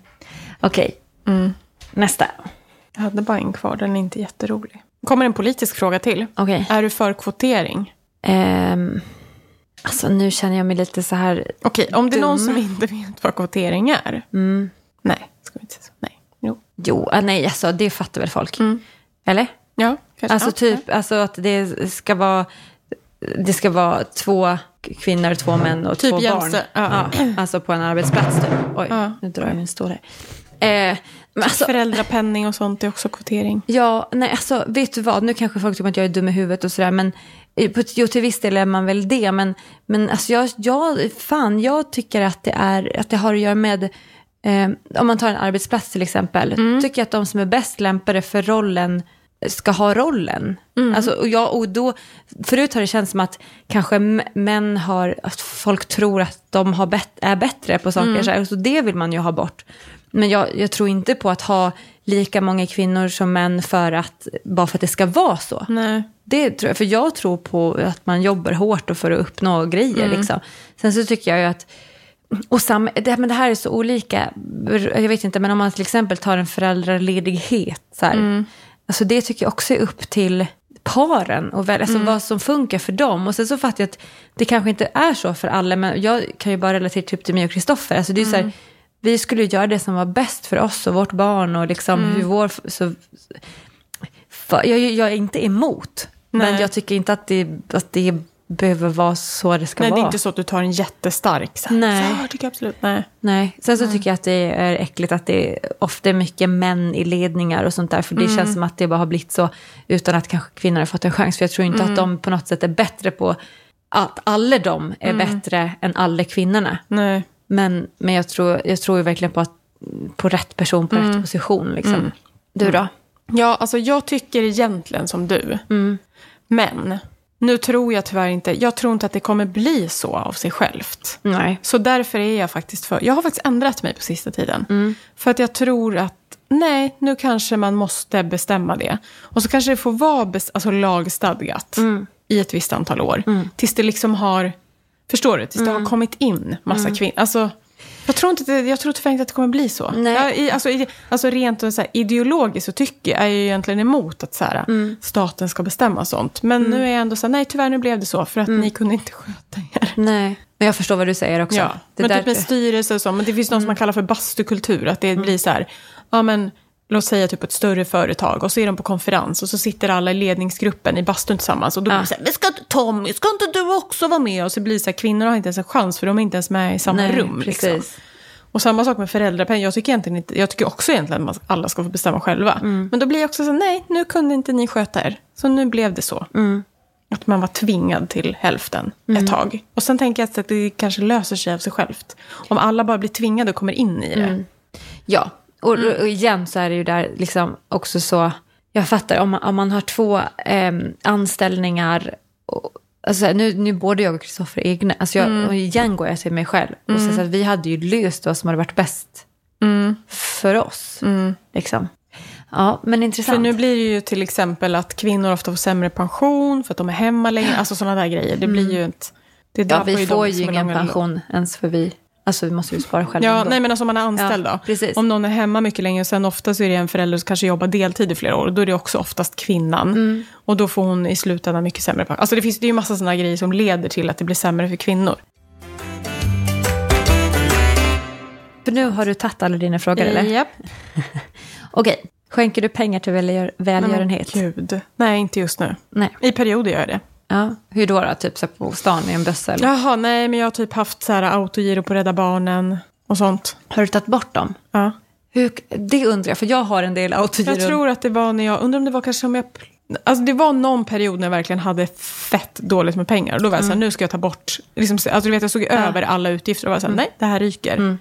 Okej, Mm. nästa. Jag hade bara en kvar, den är inte jätterolig. kommer en politisk fråga till. Okej. Är du för kvotering? Ehm, alltså nu känner jag mig lite så här, Okej, om det är någon Dum. Mm. som inte vet vad kvotering är. Nej, ska vi inte säga så? Nej. Jo. jo, ah, nej alltså det fattar väl folk. Mm. Eller? Ja, kanske. Alltså ja. typ alltså att det ska vara det ska vara två kvinnor, två män och Typ två barn. jämställd- ja. [CLEARS THROAT] alltså på en arbetsplats typ. Oj, Ja. nu drar jag min stol här. Eh, men alltså, Föräldrapenning och sånt är också kvotering. Ja, nej alltså vet du vad, nu kanske folk tycker att jag är dum i huvudet och sådär men eh, på- jo till viss del är man väl det men, men alltså jag, jag, fan jag tycker att det, är, att det har att göra med eh, om man tar en arbetsplats till exempel, Mm. tycker jag att de som är bäst lämpade för rollen ska ha rollen. Alltså, och jag, och då, förut har det känts som att kanske m- män har, att folk tror att de har bet- är bättre på saker, så, här, så det vill man ju ha bort. Men jag, jag tror inte på att ha lika många kvinnor som män för att, bara för att det ska vara så. Nej. Det tror jag, för jag tror på att man jobbar hårt och för att uppnå grejer. Liksom. Sen så tycker jag ju att... Och sam, det, men det här är så olika. Jag vet inte, men om man till exempel tar en föräldraledighet. Så här, Mm. alltså det tycker jag också är upp till paren och väl, Mm. alltså vad som funkar för dem. Och sen så fattar jag att det kanske inte är så för alla, men jag kan ju bara relatera typ till mig och Kristoffer. Alltså det är ju Mm. så här, vi skulle ju göra det som var bäst för oss och vårt barn och liksom Mm. hur vår... Så, Fa- Jag, jag är inte emot, men Nej. jag tycker inte att det, att det behöver vara så det ska Nej, det vara. är inte så att du tar en jättestark så här. Nej. Så här tycker jag absolut. Nej. Nej. Sen så tycker jag att det är äckligt att det är ofta är mycket män i ledningar och sånt där, för det Mm. känns som att det bara har blivit så utan att kanske kvinnor har fått en chans, för jag tror inte att Mm. de på något sätt är bättre på att alla de är Mm. bättre än alla kvinnorna. Nej. Men, men jag, tror, jag tror ju verkligen på, att, på rätt person på Mm. rätt position. Liksom. Du då? Ja, alltså jag tycker egentligen som du. Mm. Men nu tror jag tyvärr inte, jag tror inte att det kommer bli så av sig självt. Nej. Så därför är jag faktiskt för, jag har faktiskt ändrat mig på sista tiden. För att jag tror att, nej, nu kanske man måste bestämma det. Och så kanske det får vara bes- alltså lagstadgat i ett visst antal år. Tills det liksom har, förstår du, tills det har kommit in massa kvinnor. Alltså, jag tror, inte att det, jag tror tyvärr inte att det kommer bli så. Nej. Jag, i, alltså, i, alltså rent och så här, ideologiskt så tycker jag, är jag ju egentligen emot att så här, staten ska bestämma sånt. Men nu är jag ändå så här, nej tyvärr nu blev det så för att ni kunde inte sköta er. Nej. Men jag förstår vad du säger också. Ja, Det men där- Mm. typ med styrelse och så. Men det finns något som man kallar för bastukultur. Att det blir så här, ja men låt säga typ ett större företag och så är de på konferens och så sitter alla i ledningsgruppen i bastun tillsammans och då blir det så här, men ska inte Tommy, ska inte du också vara med? Och så blir det så här, kvinnor har inte ens en chans för de är inte ens med i samma Nej, rum. Liksom. precis. Och samma sak med föräldrapenning. Jag tycker, egentligen inte, jag tycker också egentligen att alla ska få bestämma själva. Mm. Men då blir jag också så här, nej, nu kunde inte ni sköta er. Så nu blev det så. Mm. Att man var tvingad till hälften ett tag. Och sen tänker jag att det kanske löser sig av sig självt. Om alla bara blir tvingade och kommer in i det. Mm. Ja, och, Mm. och igen så är det ju där liksom också så... Jag fattar, om man, om man har två ehm, anställningar... Och, alltså, nu, nu både jag och Kristoffer är egna. Alltså jag, Mm. och igen går jag till mig själv. Och så, så att vi hade ju löst vad som hade varit bäst Mm. för oss. Liksom. Ja, men intressant. För nu blir det ju till exempel att kvinnor ofta får sämre pension för att de är hemma längre. Alltså sådana där grejer. Det blir ju inte... Det Mm. ja, drabbar vi de får som ju är ingen långa- pension ens för vi... Alltså vi måste ju spara själva Ja, ändå. nej men alltså om man är anställd Ja, då. precis. Om någon är hemma mycket längre, och sen ofta så är det en förälder som kanske jobbar deltid i flera år, då är det också oftast kvinnan. Och då får hon i slutändan mycket sämre pension. Alltså det finns det är ju massa sådana grejer som leder till att det blir sämre för kvinnor. För nu har du tagit alla dina frågor eller? Japp. Okej, skänker du pengar till välgör, välgörenhet? Gud. Nej, inte just nu. Nej. I perioder gör jag det. Ja, hur då? då? Typ så här på stan i en bössa? Eller? Jaha, nej men jag har typ haft så här autogiro på Rädda Barnen och sånt. Har du tagit bort dem? Ja. Hur, det undrar jag, för jag har en del autogiro. Jag tror att det var när jag, undrar om det var kanske om jag, alltså det var någon period när jag verkligen hade fett dåligt med pengar. Och då var jag såhär, Mm. nu ska jag ta bort, liksom, alltså du vet jag såg över alla utgifter och var såhär, Mm. nej det här ryker.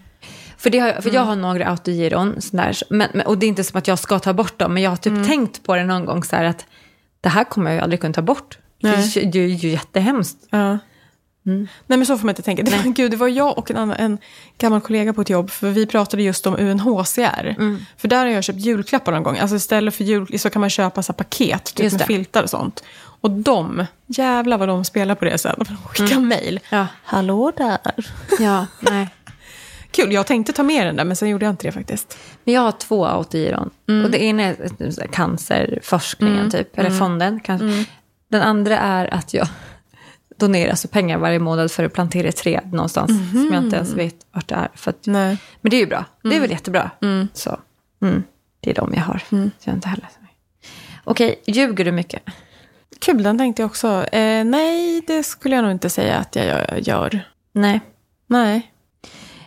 För, det har, jag- för Mm. jag har några autogiron, sån där, men, men, och det är inte som att jag ska ta bort dem, men jag har typ Mm. tänkt på det någon gång så här att det här kommer jag ju aldrig kunna ta bort. Det är, ju, det är ju jättehemskt. Ja. Mm. Nej men så får man inte tänka. Det var, gud, det var jag och en, annan, en gammal kollega på ett jobb, för vi pratade just om UNHCR. Mm. För där har jag köpt julklappar någon gång. Alltså istället för jul så kan man köpa så här paket typ Just med det. filtar och sånt. Och de, jävlar vad de spelar på det sen. [LAUGHS] De skickar mejl. Mm. Ja. Hallå där. Ja, nej. Kul, jag tänkte ta med den där men sen gjorde jag inte det faktiskt. Men jag har två autogiron. Och det ena är ett- så här cancerforskningen, typ, eller fonden. Cancer. Den andra är att jag [LAUGHS] donerar alltså pengar varje månad för att plantera ett träd någonstans som jag inte ens vet vart det är. För att, Nej. Men det är ju bra. Det är väl jättebra. Så, mm, det är de jag har. Så jag har inte heller. Okej, ljuger du mycket? Kul, den tänkte jag också. Eh, nej, det skulle jag nog inte säga att jag gö- gör. Nej. Nej.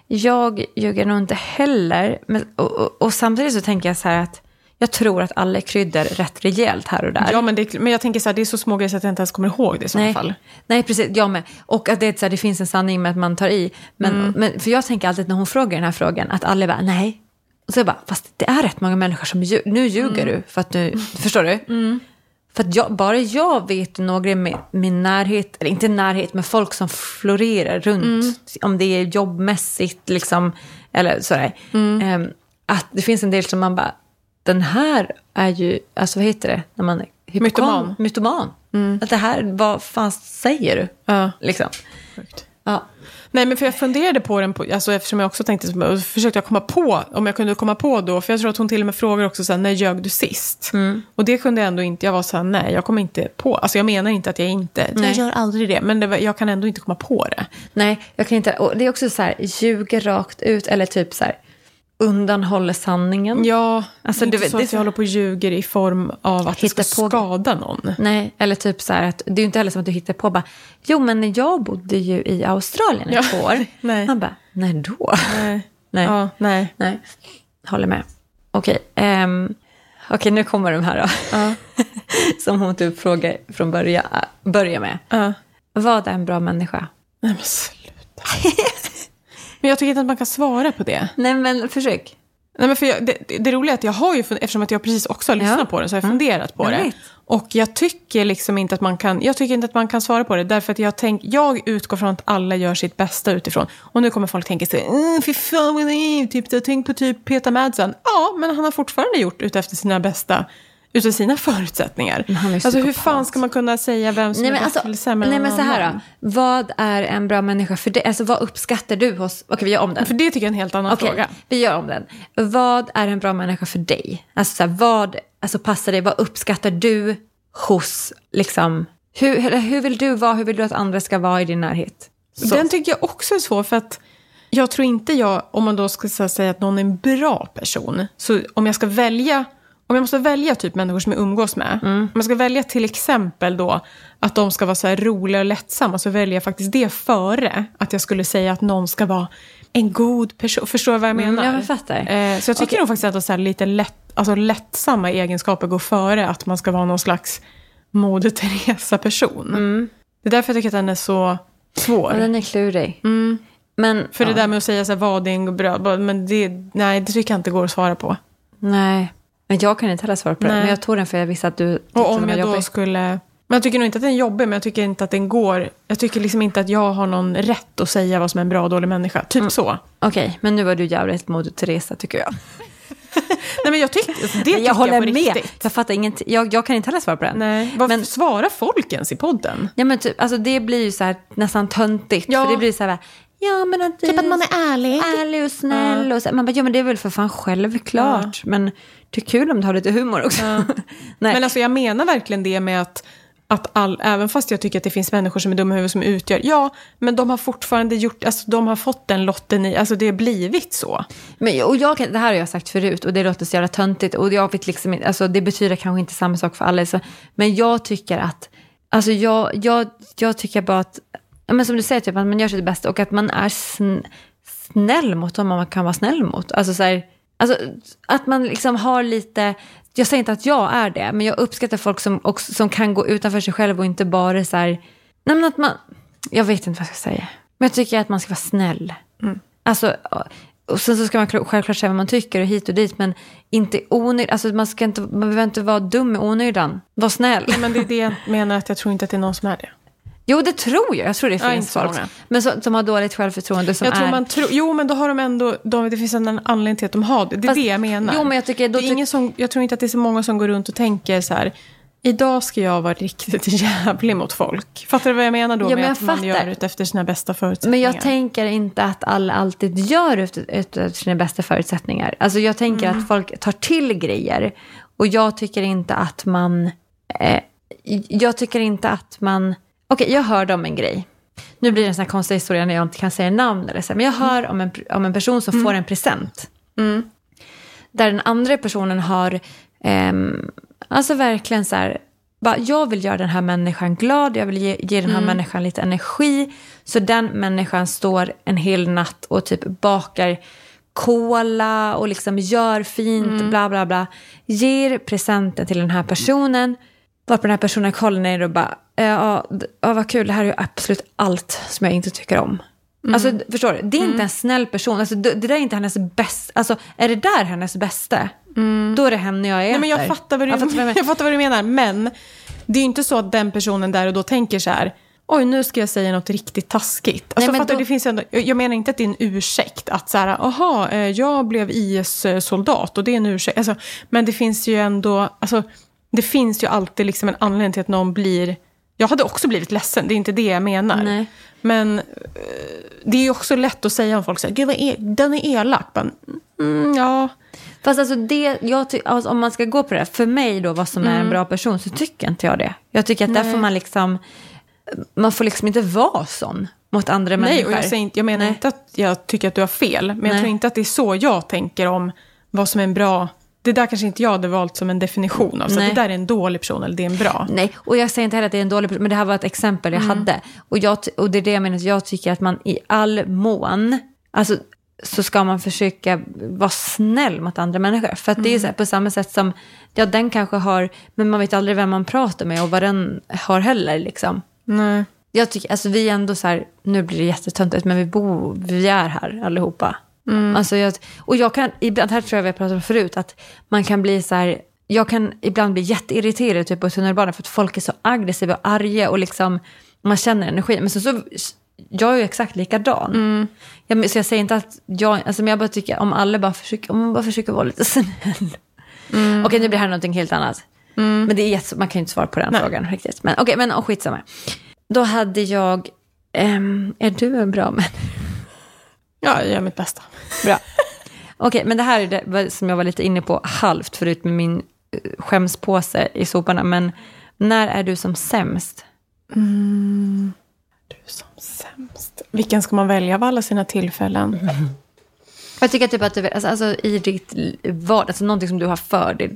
Jag ljuger nog inte heller. Men, och, och, och samtidigt så tänker jag så här att jag tror att alla är kryddor rätt rejält här och där. Ja, men, det, men jag tänker så här, det är så små grejer så att jag inte ens kommer ihåg det i så Nej. fall. Nej, precis. Jag med. Och att det, är så här, det finns en sanning med att man tar i. Men, Mm. men, för jag tänker alltid när hon frågar den här frågan att alla bara nej. Och så jag bara, fast det är rätt många människor som lju- nu ljuger Mm. du. För att du, förstår du? För att jag, bara jag vet några i min, min närhet, eller inte närhet, men folk som florerar runt. Mm. Om det är jobbmässigt liksom, eller sådär. Mm. Ehm, att det finns en del som man bara, den här är ju, alltså vad heter det? När man, hypokon- Mytoman. mytoman. Att det här, vad fan säger du? Mm. Ja. Liksom. Ja. Nej, men för jag funderade på den, på, alltså, eftersom jag också tänkte, så försökte jag komma på, om jag kunde komma på då, för jag tror att hon till och med frågar också så här, när ljög du sist? Och det kunde jag ändå inte, jag var så här, nej, jag kommer inte på, alltså jag menar inte att jag inte, jag gör aldrig det, men det, var- jag kan ändå inte komma på det. Nej, jag kan inte. Och det är också så här, ljuger rakt ut eller typ så här, undanhåller sanningen. Ja, Alltså, det är du inte vet, så det är att så- jag håller på och ljuger i form av att det ska Hitta på- skada någon. Nej, eller typ så här att det är ju inte heller som att du hittar på bara, jo men jag bodde ju i Australien Ja. ett år. [LAUGHS] Nej. Man bara, när då? [LAUGHS] Nej. Nej. Ja, nej. Nej, håller med. Okej, ehm, okej, nu kommer de här då. Ja. [LAUGHS] som hon typ frågar från början, börjar med. Ja. Vad är en bra människa? Nej, men sluta. [LAUGHS] men jag tycker inte att man kan svara på det. Nej men försök. Nej, men för jag, det, det roliga är att jag har ju, fun- eftersom att jag precis också har lyssnat Ja. på den, så har jag funderat på Jag det. vet. Och jag tycker liksom inte att man kan, jag tycker inte att man kan svara på det, därför att jag, tänk, jag utgår från att alla gör sitt bästa utifrån. Och nu kommer folk tänka sig, "Mm, fy fan vad naivt, typ, jag tänk på typ Peter Madsen. Ja, men han har fortfarande gjort utefter sina bästa, utifrån sina förutsättningar. han är ju Alltså hur psykopat. fan ska man kunna säga vem som Nej är men, bäst alltså, eller sämre nej, än men någon så här annan? då. Vad är en bra människa för dig? Alltså vad uppskattar du hos... Okej, vi gör om den. För det tycker jag är en helt annan Okej, fråga. vi gör om den. Vad är en bra människa för dig? Alltså så här, vad alltså, passar dig? Vad uppskattar du hos... Liksom, hur, eller hur vill du vara? Hur vill du att andra ska vara i din närhet? Så. Den tycker jag också är svår för att jag tror inte jag, om man då ska så här säga att någon är en bra person, så om jag ska välja, om jag måste välja typ människor som jag umgås med, Mm. om jag ska välja till exempel då att de ska vara så här roliga och lättsamma, så väljer jag faktiskt det före att jag skulle säga att någon ska vara en god person. Förstår du vad jag Mm, menar? jag fattar. Eh, så jag tycker nog faktiskt att så här lite lätt, alltså lättsamma egenskaper går före att man ska vara någon slags Moder Teresa-person. Det är därför jag tycker att den är så svår. Mm. Ja, den är klurig. Men, Mm. För ja, det där med att säga så här, vad det är en bra, bara, men det, nej, det tycker jag inte går att svara på. Nej, men jag kan inte heller svara på det. Nej. Men jag tog den för jag visste att du tyckte Och om den var jag då jobbig. skulle... Men jag tycker nog inte att den är jobbig, men jag tycker inte att den går... Jag tycker liksom inte att jag har någon rätt att säga vad som är en bra och dålig människa. Typ Mm. så. Okej, men nu var du jävligt Moder Teresa tycker jag. Nej, men jag tyckte... Alltså, det tycker jag håller på med. riktigt. Jag fattar inget. Jag, jag kan inte heller svara på den. Nej, varför Men- svarar folk ens i podden? Ja, men typ, alltså det blir ju så här nästan töntigt. Ja. För det blir så här, ja men att du... Typ att man är ärlig. Ärlig och snäll. Och så, här. man bara, ja men det är väl för fan självklart. Men det är kul om du har lite humor också. [LAUGHS] Nej. Men alltså jag menar verkligen det med att, att all, även fast jag tycker att det finns människor som är dumma i huvudet som utgör, ja, men de har fortfarande gjort, alltså de har fått den lotten i, alltså det har blivit så. Men, och jag, kan- det här har jag sagt förut och det låter så jävla töntigt. Och jag vet liksom, inte- alltså, det betyder kanske inte samma sak för alla. Så, men jag tycker att... Alltså jag, jag, jag tycker bara att... ja, Men som du säger, typ, att man gör sitt bästa och att man är sn, snäll mot dem man kan vara snäll mot. Alltså, så här, alltså att man liksom har lite... Jag säger inte att jag är det, men jag uppskattar folk som, också, som kan gå utanför sig själv och inte bara så här... Nej, men att man, jag vet inte vad jag ska säga. Men jag tycker att man ska vara snäll. Mm. Alltså, och sen så ska man kl- självklart säga vad man tycker och hit och dit, men inte onödigt. Alltså man, ska inte, man behöver inte vara dum i onödan. Var snäll. Men det är det jag menar, att jag tror inte att det är någon som är det. Jo, det tror jag. Jag tror det Ja, inte finns så folk. många. Men så, som har dåligt självförtroende. Som Jag tror är, man tror, jo men då har de ändå, de, det finns en anledning till att de har det, det är Fast- det jag menar. Jo, men jag tycker- då det är tyck- ingen som, jag tror inte att det är så många som går runt och tänker så här, idag ska jag vara riktigt [LAUGHS] jävlig mot folk. Fattar du vad jag menar då Ja, med men jag att man fattar. gör ut efter sina bästa men förutsättningar? jag tänker inte att alla alltid gör ut- utifrån sina bästa förutsättningar. Alltså jag tänker att folk tar till grejer. Och jag tycker inte att man... Eh, jag tycker inte att man... Okej, jag hörde om en grej. Nu blir det en sån här konstig historia när jag inte kan säga namn. Eller så, men jag hör om en, om en person som får en present. Där den andra personen har... ehm, alltså verkligen så här... bara, jag vill göra den här människan glad, jag vill ge, ge den här människan lite energi. Så den människan står en hel natt och typ bakar kola och liksom gör fint, bla bla bla. Ger presenten till den här personen. Varpå den här personen kollar ner och bara, "Eh, ja d- ja, vad kul, det här är ju absolut allt som jag inte tycker om. Mm. Alltså förstår du, det är inte en snäll person, alltså, det, det där är inte hennes bästa, alltså är det där hennes bästa, då är det henne jag äter. Mm. Nej, men jag fattar, vad du, [LAUGHS] jag, vad jag menar. fattar vad du menar. Men det är ju inte så att den personen där och då tänker så här, oj nu ska jag säga något riktigt taskigt. Alltså, men fattar då- du, det finns ju ändå, jag menar inte att det är en ursäkt att så här, aha, eh, jag blev IS-soldat och det är en ursäkt. Alltså, men det finns ju ändå, alltså, det finns ju alltid liksom en anledning till att någon blir, jag hade också blivit ledsen, det är inte det jag menar. Nej. Men eh, det är ju också lätt att säga om folk säger, gud vad e- den är elak. Men, mm, ja, Fast alltså det, jag ty- alltså om man ska gå på det, här, för mig då vad som är Mm. en bra person så tycker inte jag det. Jag tycker att där får man liksom, man får liksom inte vara sån mot andra Nej, människor. och jag, säger inte, jag menar Nej. inte att jag tycker att du har fel, men Nej. jag tror inte att det är så jag tänker om vad som är en bra... Det där kanske inte jag hade valt som en definition av, så Nej. att det där är en dålig person eller det är en bra. Nej, och jag säger inte heller att det är en dålig person, men det här var ett exempel jag hade. Och, jag, ty- och det är det jag menar, att jag tycker att man i all mån, alltså så ska man försöka vara snäll mot andra människor. För att det är ju så här, på samma sätt som, ja den kanske har, men man vet aldrig vem man pratar med och vad den har heller liksom. Nej. Jag tycker, alltså vi är ändå så här, nu blir det jättetöntigt, men vi bor, vi är här allihopa. Alltså jag, och jag kan, ibland, här tror jag vi har pratat om förut, att man kan bli så här, jag kan ibland bli jätteirriterad typ på tunnelbanan för att folk är så aggressiva och arga och liksom, man känner energi. Men så, så jag är ju exakt likadan. Mm. Jag, men- så jag säger inte att jag, alltså men jag bara tycker om alla bara försöker, om man bara försöker vara lite snäll. Okej, nu blir det här någonting helt annat. Men det är, jätte- man kan ju inte svara på den frågan riktigt. Men okej, men och skitsamma. Då hade jag... ehm, är du en bra människa? Ja, jag gör mitt bästa. Bra. [LAUGHS] Okej, men det här är det vad- som jag var lite inne på halvt förut med min eh, skämspåse i soporna. Men när är du som sämst? Du som sämst. Vilken ska man välja av alla sina tillfällen? Jag tycker typ att du, alltså, alltså, i ditt l- vardag, alltså någonting som du har för dig,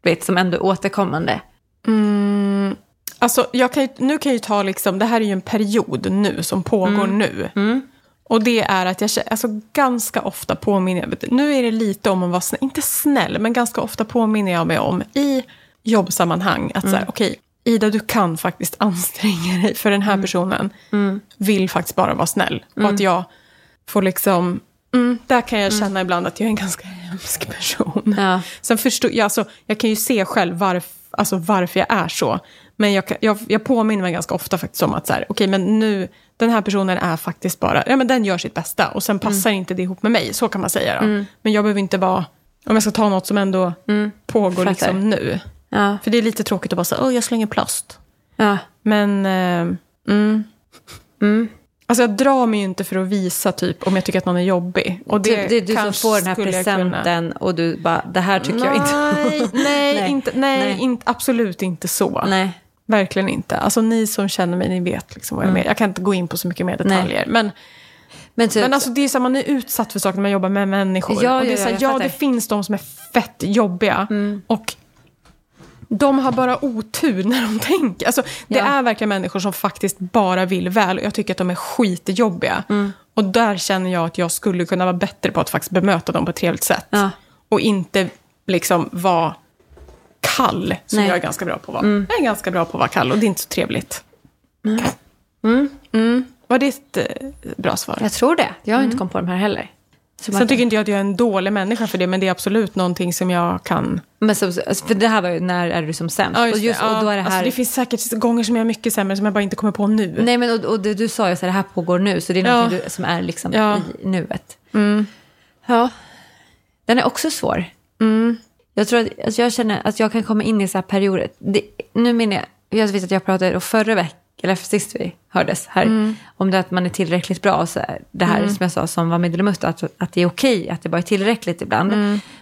du vet, som ändå är återkommande. Alltså, jag kan ju, nu kan jag ju ta liksom, det här är ju en period nu som pågår nu. Och det är att jag kä- alltså, ganska ofta påminner jag vet du, Nu är det lite om att vara snäll, inte snäll, men ganska ofta påminner jag mig om i jobbsammanhang att så här, okej, Ida du kan faktiskt [LAUGHS] anstränga dig för den här personen vill faktiskt bara vara snäll. Och att jag får liksom, mm, där kan jag känna ibland att jag är en ganska hemsk person. Ja. Sen förstod, jag, alltså, jag kan ju se själv varf, alltså, varför jag är så. Men jag, kan- jag, jag påminner mig ganska ofta faktiskt om att så här, okej, men nu, den här personen är faktiskt bara, ja, men den gör sitt bästa och Mm. sen passar inte det ihop med mig. Så kan man säga. Då. Men jag behöver inte vara, om jag ska ta något som ändå pågår Mm. Fattar. liksom nu. Ja. För det är lite tråkigt att bara säga, åh jag slänger plast. ja. Men, eh, mm. Mm. Alltså jag drar mig ju inte för att visa typ om jag tycker att någon är jobbig. Och det, Det, det är Typ, du som kanske får den här skulle jag kunna- presenten och du bara, det här tycker jag inte om. [LAUGHS] Nej, nej, Nej. Inte, nej, Nej. Inte, absolut inte så. Nej. Verkligen inte. Alltså ni som känner mig, ni vet liksom vad jag Mm. menar. Jag kan inte gå in på så mycket mer detaljer. Men, Men typ, men alltså det är så här, man är utsatt för saker när man jobbar med människor. Ja, och det ja, är så här, ja, ja, jag fattar. Mm. det finns de som är fett jobbiga. Och de har bara otur när de [LAUGHS] tänker. Alltså, det Ja. är verkligen människor som faktiskt bara vill väl. Och jag tycker att de är skitjobbiga. Mm. Och där känner jag att jag skulle kunna vara bättre på att faktiskt bemöta dem på ett trevligt sätt. Ja. Och inte liksom vara kall, som Nej. Mm. jag är ganska bra på att vara. Jag är ganska bra på att vara kall och det är inte så trevligt. Mm. Var det ett eh, bra svar? jag tror det. Jag Mm. har inte kommit på de här heller. Så man- Sen tycker inte jag att jag är en dålig människa för det, men det är absolut någonting som jag kan... Men så, alltså, för det här var ju när är du som sämst. och, just, och då är det här... Alltså, det finns säkert gånger som jag är mycket sämre som jag bara inte kommer på nu. Nej men och, och det, du sa ju så här, det här pågår nu, så det är något Ja. du, som är liksom Ja. Mm. i nuet. Ja. Den är också svår. Jag tror att alltså jag känner att jag kan komma in i så här perioder. Det, nu menar jag, jag vet att jag pratade då förra veckan, eller sist vi hördes här, om det att man är tillräckligt bra. Och så här, det här som jag sa som var medelmåtta, att, att det är okej att det bara är tillräckligt ibland.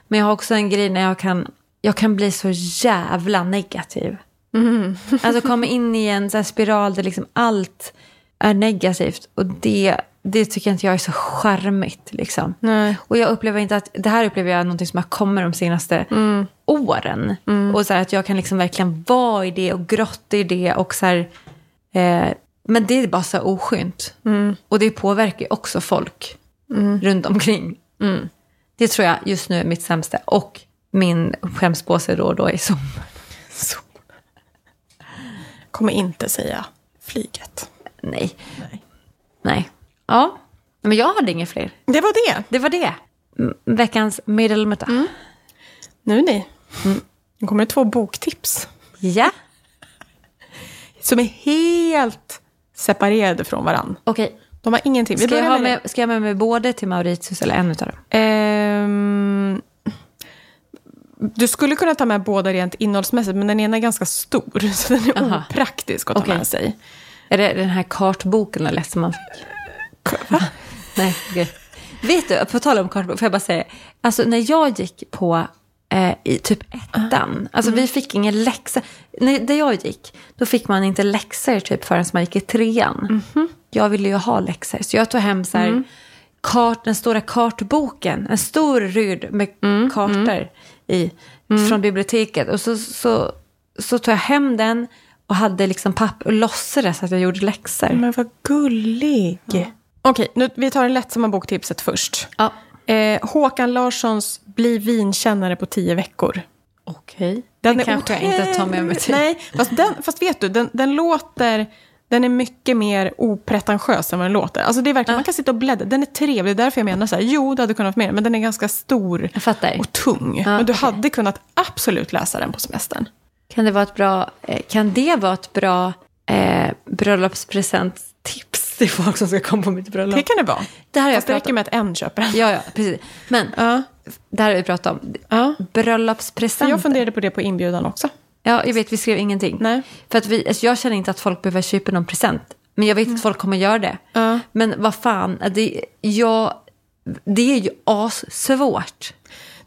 Men jag har också en grej när jag kan, jag kan bli så jävla negativ. Alltså komma in i en så här spiral där liksom allt är negativt. Och det, det tycker inte jag är så charmigt. Liksom. Nej. Och jag upplever inte att, det här upplever jag är någonting som har kommit de senaste åren åren. Och så här, att jag kan liksom verkligen vara i det och grotta i det. Och så här, eh, men det är bara så här oskynt. Och det påverkar ju också folk runt omkring. Mm. Det tror jag just nu är mitt sämsta. Och min skämspåse då och då i sommar. Så. Kommer inte säga flyget. Nej. Nej. Ja. Men jag hade inga fler. Det var det. Det var det. M- Veckans medelmöta. Nu ni. Mm. Nu kommer det två boktips. Ja. Som är helt separerade från varann. Okej. De har ingenting. Vi Ska, jag börjar ha med- med- ska jag ha med mig både till Mauritius eller en utav dem? Ehm, du skulle kunna ta med båda rent innehållsmässigt, men den ena är ganska stor, [LAUGHS] så den är Aha. opraktisk att ta Okej. med sig. Är det den här kartboken eller läste man fick? Nej, okej. Vet du, på tal om kartbok, får jag bara säga. Alltså när jag gick på eh, i typ ettan, alltså vi fick ingen läxa. Nej, där jag gick, då fick man inte läxor typ förrän man gick i trean. Jag ville ju ha läxor, så jag tog hem så här, kart, den stora kartboken, en stor ryd med kartor i, från biblioteket. Och så, så, så tog jag hem den och hade liksom papper och låtsades att jag gjorde läxor. Men vad gullig! Okej, nu, vi tar det lättsamma boktipset först. Ja. Eh, Håkan Larssons Bli vinkännare på tio veckor. Okej. Den, kanske jag inte tar med mig otroligt- till. Nej, fast, den, fast vet du, den, den låter... Den är mycket mer opretentiös än vad den låter. Alltså det är verkligen, Man kan sitta och bläddra. Den är trevlig. Det är därför jag menar så här, jo, du hade kunnat få med den, men den är ganska stor Jag fattar. och tung. men du hade kunnat absolut läsa den på semestern. Kan det vara ett bra, eh, kan det vara ett bra eh, bröllopspresenttips till folk som ska komma på mitt bröllop? Det kan det vara. Det här har jag Fast det pratat räcker om. med att en köper den. Ja, ja, precis. Men Ja. det här har vi pratat om. Ja. Bröllopspresenter. Jag funderade på det på inbjudan också. Ja, jag vet, vi skrev ingenting. Nej. För att vi, alltså jag känner inte att folk behöver köpa någon present. Men jag vet att folk kommer göra det. Ja. Men vad fan, det, jag, det är ju assvårt.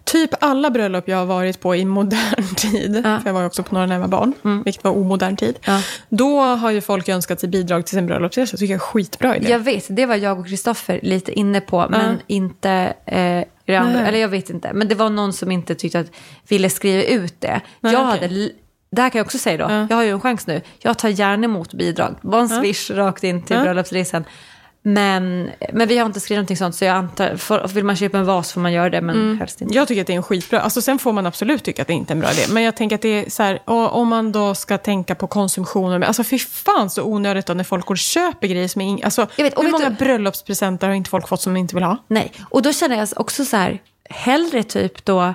Typ alla bröllop jag har varit på i modern [LAUGHS] tid, för jag var ju också på några när jag var barn, vilket var omodern tid, Mm. Ja. då har ju folk önskat sig bidrag till sin bröllopsresa. Jag tycker jag är skitbra idé. Jag vet, det var jag och Kristoffer lite inne på, men inte eh, det andra. Nej. Eller jag vet inte. Men det var någon som inte tyckte att ville skriva ut det. Nej, jag okej. hade, l- det här kan jag också säga då, jag har ju en chans nu. Jag tar gärna emot bidrag. Det var en swish rakt in till bröllopsresan. Men, men vi har inte skrivit någonting sånt, så jag antar, för, vill man köpa en vas får man göra det, men Mm. helst inte. Jag tycker att det är en skitbra... Alltså sen får man absolut tycka att det inte är en bra idé. Men jag tänker att det är så här, och om man då ska tänka på konsumtionen. Alltså fy fan så onödigt då när folk går och köper grejer som är... ing- Alltså, Jag vet, och hur vet många du- bröllopspresenter har inte folk fått som de inte vill ha? Nej, och då känner jag också så här, hellre typ då,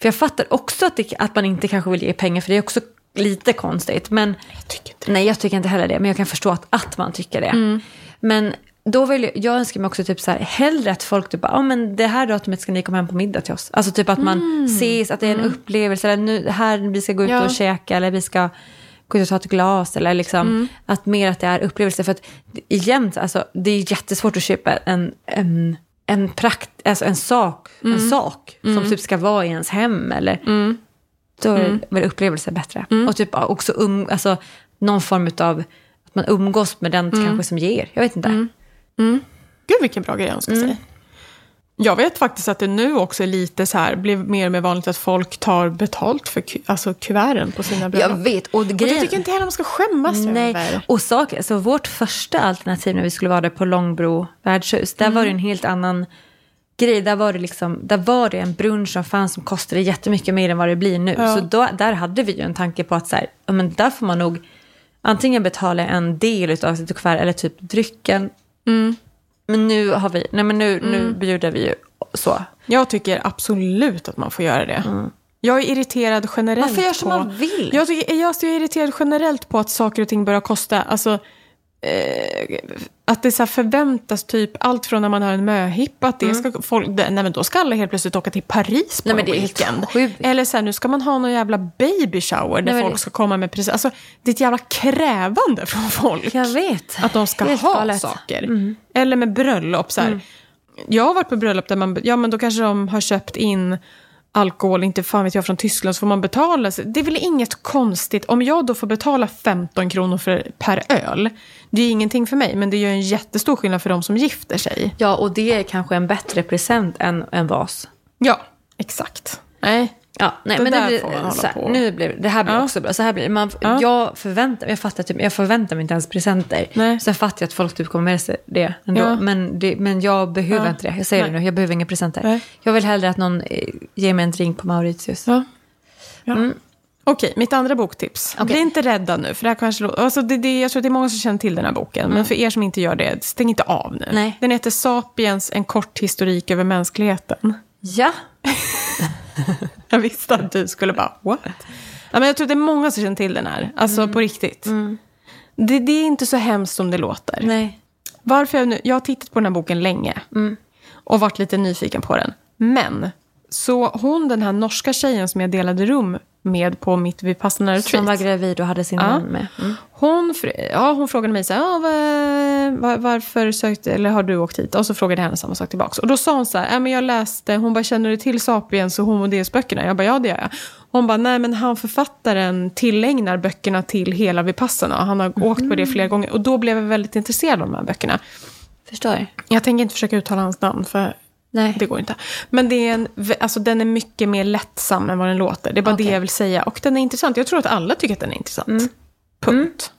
för jag fattar också att, det, att man inte kanske vill ge pengar, för det är också lite konstigt. Men Jag tycker inte Nej, jag tycker inte heller det, men jag kan förstå att, att man tycker det. Men då vill jag, jag önskar mig också typ så här, hellre att folk typ, ja men det här datumet ska ni komma hem på middag till oss. Alltså typ att man ses, att det är en upplevelse, eller nu, här vi ska gå ut Ja. och käka, eller vi ska gå ut och ta ett glas, eller liksom att mer att det är upplevelse. För att igen, alltså, det är jättesvårt att köpa en, en en prakt, alltså en sak, en sak som typ ska vara i ens hem eller då är väl upplevelser bättre. Och typ också um, alltså, någon form av att man umgås med den kanske som ger. Jag vet inte. Gud vilken bra grej jag önskar Mm. sig. Jag vet faktiskt att det nu också är lite så här, blir mer och mer vanligt att folk tar betalt för ku- alltså kuverten på sina bröllop. Jag vet, och Och det grejen... tycker inte heller man ska skämmas Nej, över. och saker, så vårt första alternativ när vi skulle vara där på Långbro värdshus, där var det en helt annan grej. Där var det, liksom, där var det en brunch som fanns som kostade jättemycket mer än vad det blir nu. Så då, där hade vi ju en tanke på att så här, ja, men där får man nog antingen betala en del av sitt kuvert eller typ drycken. Mm. Men nu har vi, nej men nu, nu bjuder vi ju så. Jag tycker absolut att man får göra det. Jag är irriterad generellt Man får göra Mm. som på... man vill. Jag, tycker, jag är irriterad generellt på att saker och ting börjar kosta. Alltså, eh, att det så här förväntas typ allt från när man har en möhippa att det ska folk, nej men då ska alla helt plötsligt åka till Paris på Mm. Nej, men en det är helt weekend. sjukt. Eller så här, nu ska man ha någon jävla baby shower där men folk det- ska komma med precis. Alltså, det är ett jävla krävande från folk. Jag vet. Att de ska Helt ha galet. Mm. saker. Eller med bröllop. Så här. Jag har varit på bröllop där man, ja men då kanske de har köpt in alkohol, inte fan vet jag, från Tyskland, så får man betala. Så Det är väl inget konstigt. Om jag då får betala 15 kronor för, per öl, det är ju ingenting för mig, men det gör en jättestor skillnad för de som gifter sig. Ja, och det är kanske en bättre present än en vas. Ja, exakt. Nej, Ja, nej, Det men det där blir, får man hålla så här, på. Nu blir, det här blir Ja. också bra. Så här blir, det. man, Ja. jag, förväntar, jag, fattar, typ, jag förväntar mig inte ens presenter. Nej. Sen fattar jag att folk typ kommer med sig det ändå. Ja. Men, det, men jag behöver Ja. inte det. Jag säger det Nej. nu, jag behöver inga presenter. Nej. Jag vill hellre att någon eh, ger mig en drink på Mauritius. Ja. Ja. Mm. Okej, mitt andra boktips. Bli inte rädda nu, för det här kanske låter... Alltså det, det, jag tror att det är många som känner till den här boken, men för er som inte gör det, stäng inte av nu. Nej. Den heter Sapiens, en kort historik över mänskligheten. [LAUGHS] Ja, Jag visste att du skulle bara, what? Ja, men jag tror att det är många som känner till den här, alltså på riktigt. Det, det är inte så hemskt som det låter. nej. Varför jag, nu, jag har tittat på den här boken länge Mm. och varit lite nyfiken på den. Men, så hon den här norska tjejen som jag delade rum med på mitt Som var Vipassana-retreat. gravid och hade sin Ja. man med. Mm. Hon, fr- ja, hon frågade mig så här, ah, va- va- varför sökte, eller har du åkt hit? Och så frågade jag henne samma sak tillbaka. Och då sa hon så här, "Ja, men jag läste, hon bara, känner du till Sapiens och Homo Deus-böckerna? Jag bara, ja det gör jag. Hon bara, nej men han författaren tillägnar böckerna till hela Vipassana. Han har åkt Mm. på det flera gånger. Och då blev jag väldigt intresserad av de här böckerna. Förstår. Jag tänker inte försöka uttala hans namn, för Nej. det går inte. Men det är en, alltså, den är mycket mer lättsam än vad den låter. Det är bara Okej. det jag vill säga. Och den är intressant. Jag tror att alla tycker att den är intressant. Punkt.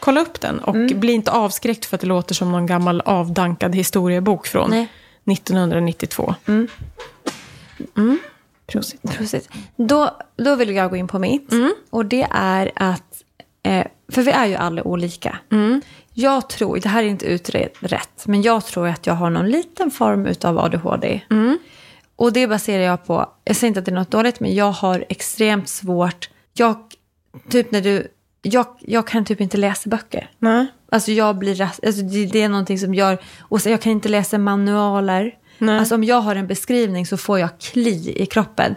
Kolla upp den och bli inte avskräckt för att det låter som någon gammal avdankad historiebok från Nej. 1992. Mm. Prosit. Precis. Då, då vill jag gå in på mitt. Och det är att, eh, för vi är ju alla olika. Jag tror, det här är inte utrett, men jag tror att jag har någon liten form utav ADHD. Och det baserar jag på, jag säger inte att det är något dåligt, men jag har extremt svårt, jag, typ när du, jag, jag kan typ inte läsa böcker. Nej. Alltså jag blir ras- alltså det, det är någonting som gör... Och sen, jag kan inte läsa manualer. Nej. Alltså om jag har en beskrivning så får jag kli i kroppen.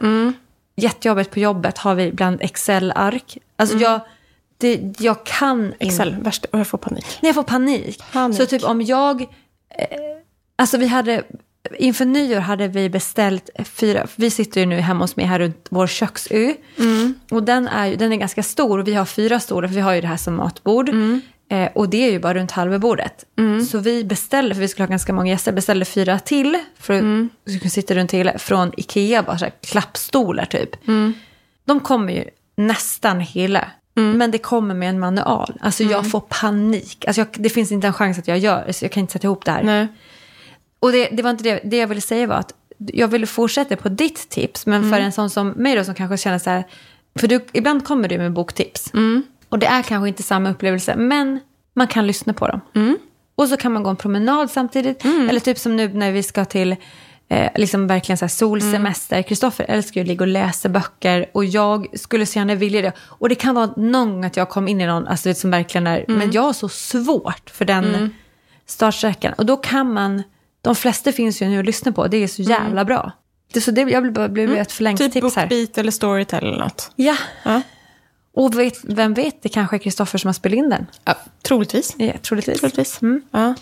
Jättejobbigt på jobbet har vi ibland Excel-ark. Alltså jag, det, jag kan inte... Excel, värst. Och jag får panik. Nej, jag får panik. Panik. Så typ om jag... Eh, alltså vi hade... Inför nyår hade vi beställt fyra... för Vi sitter ju nu hemma hos mig här runt vår köksö. Och den är, ju- den är ganska stor och vi har fyra stora för vi har ju det här som matbord. Eh, och det är ju bara runt halva bordet. Så vi beställde, för vi skulle ha ganska många gäster, beställde fyra till. För att vi kunde sitta runt till från Ikea, bara så här, klappstolar typ. De kommer ju nästan hela. Men det kommer med en manual. Alltså jag får panik. Alltså jag, det finns inte en chans att jag gör så jag kan inte sätta ihop det här. Nej. Och det, det var inte det, det jag ville säga var att jag ville fortsätta på ditt tips, men för en sån som mig då som kanske känner så här, för du, ibland kommer du med boktips. Och det är kanske inte samma upplevelse, men man kan lyssna på dem. Och så kan man gå en promenad samtidigt, eller typ som nu när vi ska till eh, liksom verkligen så här solsemester. Kristoffer älskar ju att ligga och läsa böcker och jag skulle så gärna vilja det. Och det kan vara någon gång att jag kom in i någon, alltså, du vet, som verkligen är, men jag har så svårt för den startsträckan. Och då kan man, de flesta finns ju nu att lyssna på, det är så jävla bra. Det, så det, jag vill bara bli ett förlängt Mm. Typ tips här. Bookbeat eller Storytel eller något. Ja. Ja. Och vet, vem vet, det kanske är Kristoffer som har spelat in den. Ja, troligtvis. Ja, troligtvis. Troligtvis. Mm. Ja.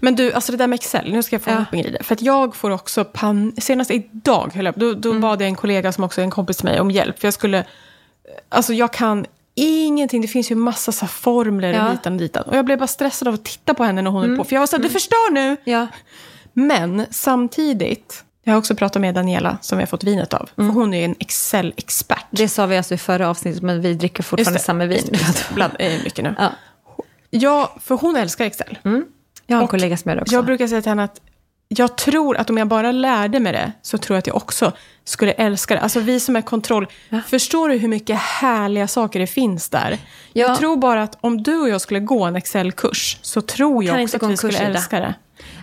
Men du, alltså det där med Excel, nu ska jag få Eh. Ja. ja. i det. För att jag får också pan... Senast idag, höll jag, då, då Mm. bad jag en kollega som också är en kompis till mig om hjälp. För jag skulle... eh, Alltså jag kan ingenting, det finns ju massa så här formler Ja. Mm. och hitan och ditan. Och jag blev bara stressad av att titta på henne när hon höll på. För jag var såhär, du förstår nu! Ja. Men samtidigt, jag har också pratat med Daniela som vi har fått vinet av. Mm. För hon är ju en [LAUGHS] Excel-expert. Det sa vi alltså i förra avsnittet, men vi dricker fortfarande Just det. samma vin. Bland, eh, mycket nu. Ja. Ja, för hon älskar Excel. Jag har en Och kollega som gör det också. Jag brukar säga till henne att jag tror att om jag bara lärde mig det så tror jag att jag också skulle älska det. Alltså vi som är kontroll, förstår du hur mycket härliga saker det finns där? Ja. Jag tror bara att om du och jag skulle gå en Excel-kurs så tror jag Kan inte också gå att en vi skulle kurs, Ida. älska det.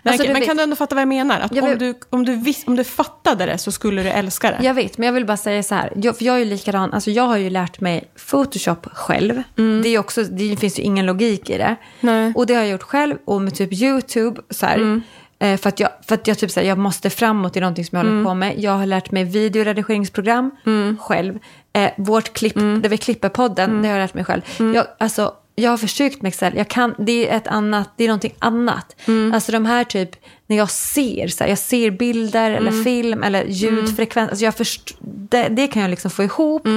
Nej, Alltså, du men vet- kan du ändå fatta vad jag menar? Att Jag om, vet- du, om, du vis, om du fattade det så skulle du älska det. Jag vet, men jag vill bara säga så här. Jag, för jag är ju likadan, alltså jag har ju lärt mig Photoshop själv. Det, är ju också, det finns ju ingen logik i det. Nej. Och det har jag gjort själv och med typ YouTube. Så här, Eh, För att, jag, för att jag, typ så här, jag måste framåt i någonting som jag håller på med. Jag har lärt mig videoredigeringsprogram själv. Eh, vårt klipp, där vi klipper podden, det har jag lärt mig själv. Jag, alltså, jag har försökt med Excel. Jag kan, det, är ett annat, det är någonting annat. Alltså de här typ, när jag ser, så här, jag ser bilder Mm. eller film eller Mm. ljudfrekvens. Alltså jag först, det, det kan jag liksom få ihop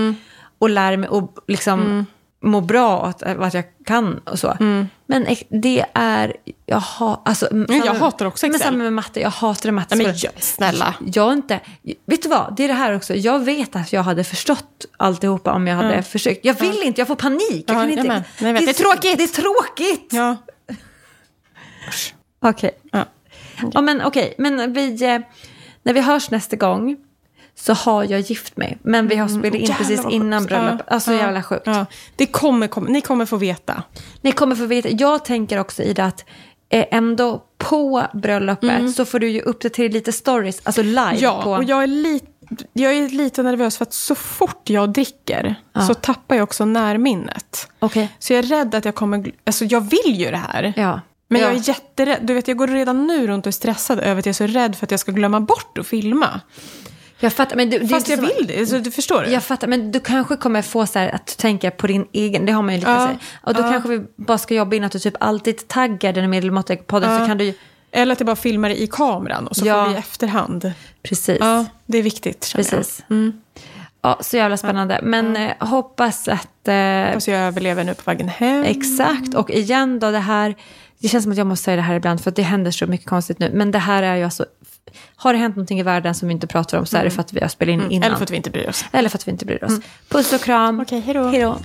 och lära mig och liksom må bra och att, och att jag kan och så. Men ex- det är, jag, ha, alltså, Mm. jag samma- hatar också Men Excel. samma med matte, jag hatar matte. Nej, Alltså, men jag- snälla. Jag inte, vet du vad, det är det här också, jag vet att jag hade förstått alltihopa om jag hade försökt. Jag vill inte, jag får panik. Jag Ja, jag kan inte, med. Nej, jag vet. Det är tråkigt. Det är tråkigt. Ja. Okej. Ja. Ja, men okej, men vi, eh, när vi hörs nästa gång så har jag gift mig. Men vi har spelat in Mm, Jävlar precis vad innan sjukt. bröllop. Ja, Alltså ja, jävla sjukt. Ja. Det kommer, kom, ni kommer få veta. Ni kommer få veta, jag tänker också i det att eh, ändå på bröllopet så får du ju uppdatera lite stories, alltså live. Mm. Ja, på... och jag är, lite, jag är lite nervös för att så fort jag dricker så tappar jag också närminnet. Okej. Så jag är rädd att jag kommer... gl- Alltså jag vill ju det här. Ja. Men ja. jag är jätterädd. Du vet, jag går redan nu runt och är stressad över att jag är så rädd för att jag ska glömma bort att filma. jag fattar, men du, det är Fast inte Mm. jag som- vill det. Så du förstår det? Jag fattar, men du kanske kommer få så här att tänka på din egen, det har man ju lite Ja. så här. Och då Ja. kanske vi bara ska jobba in att du typ alltid taggar den medelmåttiga podden så Ja. kan du ju... Eller att jag bara filmar det i kameran och så Ja. får vi i efterhand. Precis. Ja, det är viktigt känner Precis. jag. Mm. Ja, så jävla spännande. Men eh, hoppas att... Eh, Alltså jag överlever nu på vägen hem. exakt. Och igen då det här... Det känns som att jag måste säga det här ibland för att det händer så mycket konstigt nu. Men det här är ju alltså... Har det hänt någonting i världen som vi inte pratar om så är det Mm. för att Mm. vi har spelat in innan. Eller för att vi inte bryr oss. Eller för att vi inte bryr oss. Puss och kram. Okej, hejdå. Hejdå.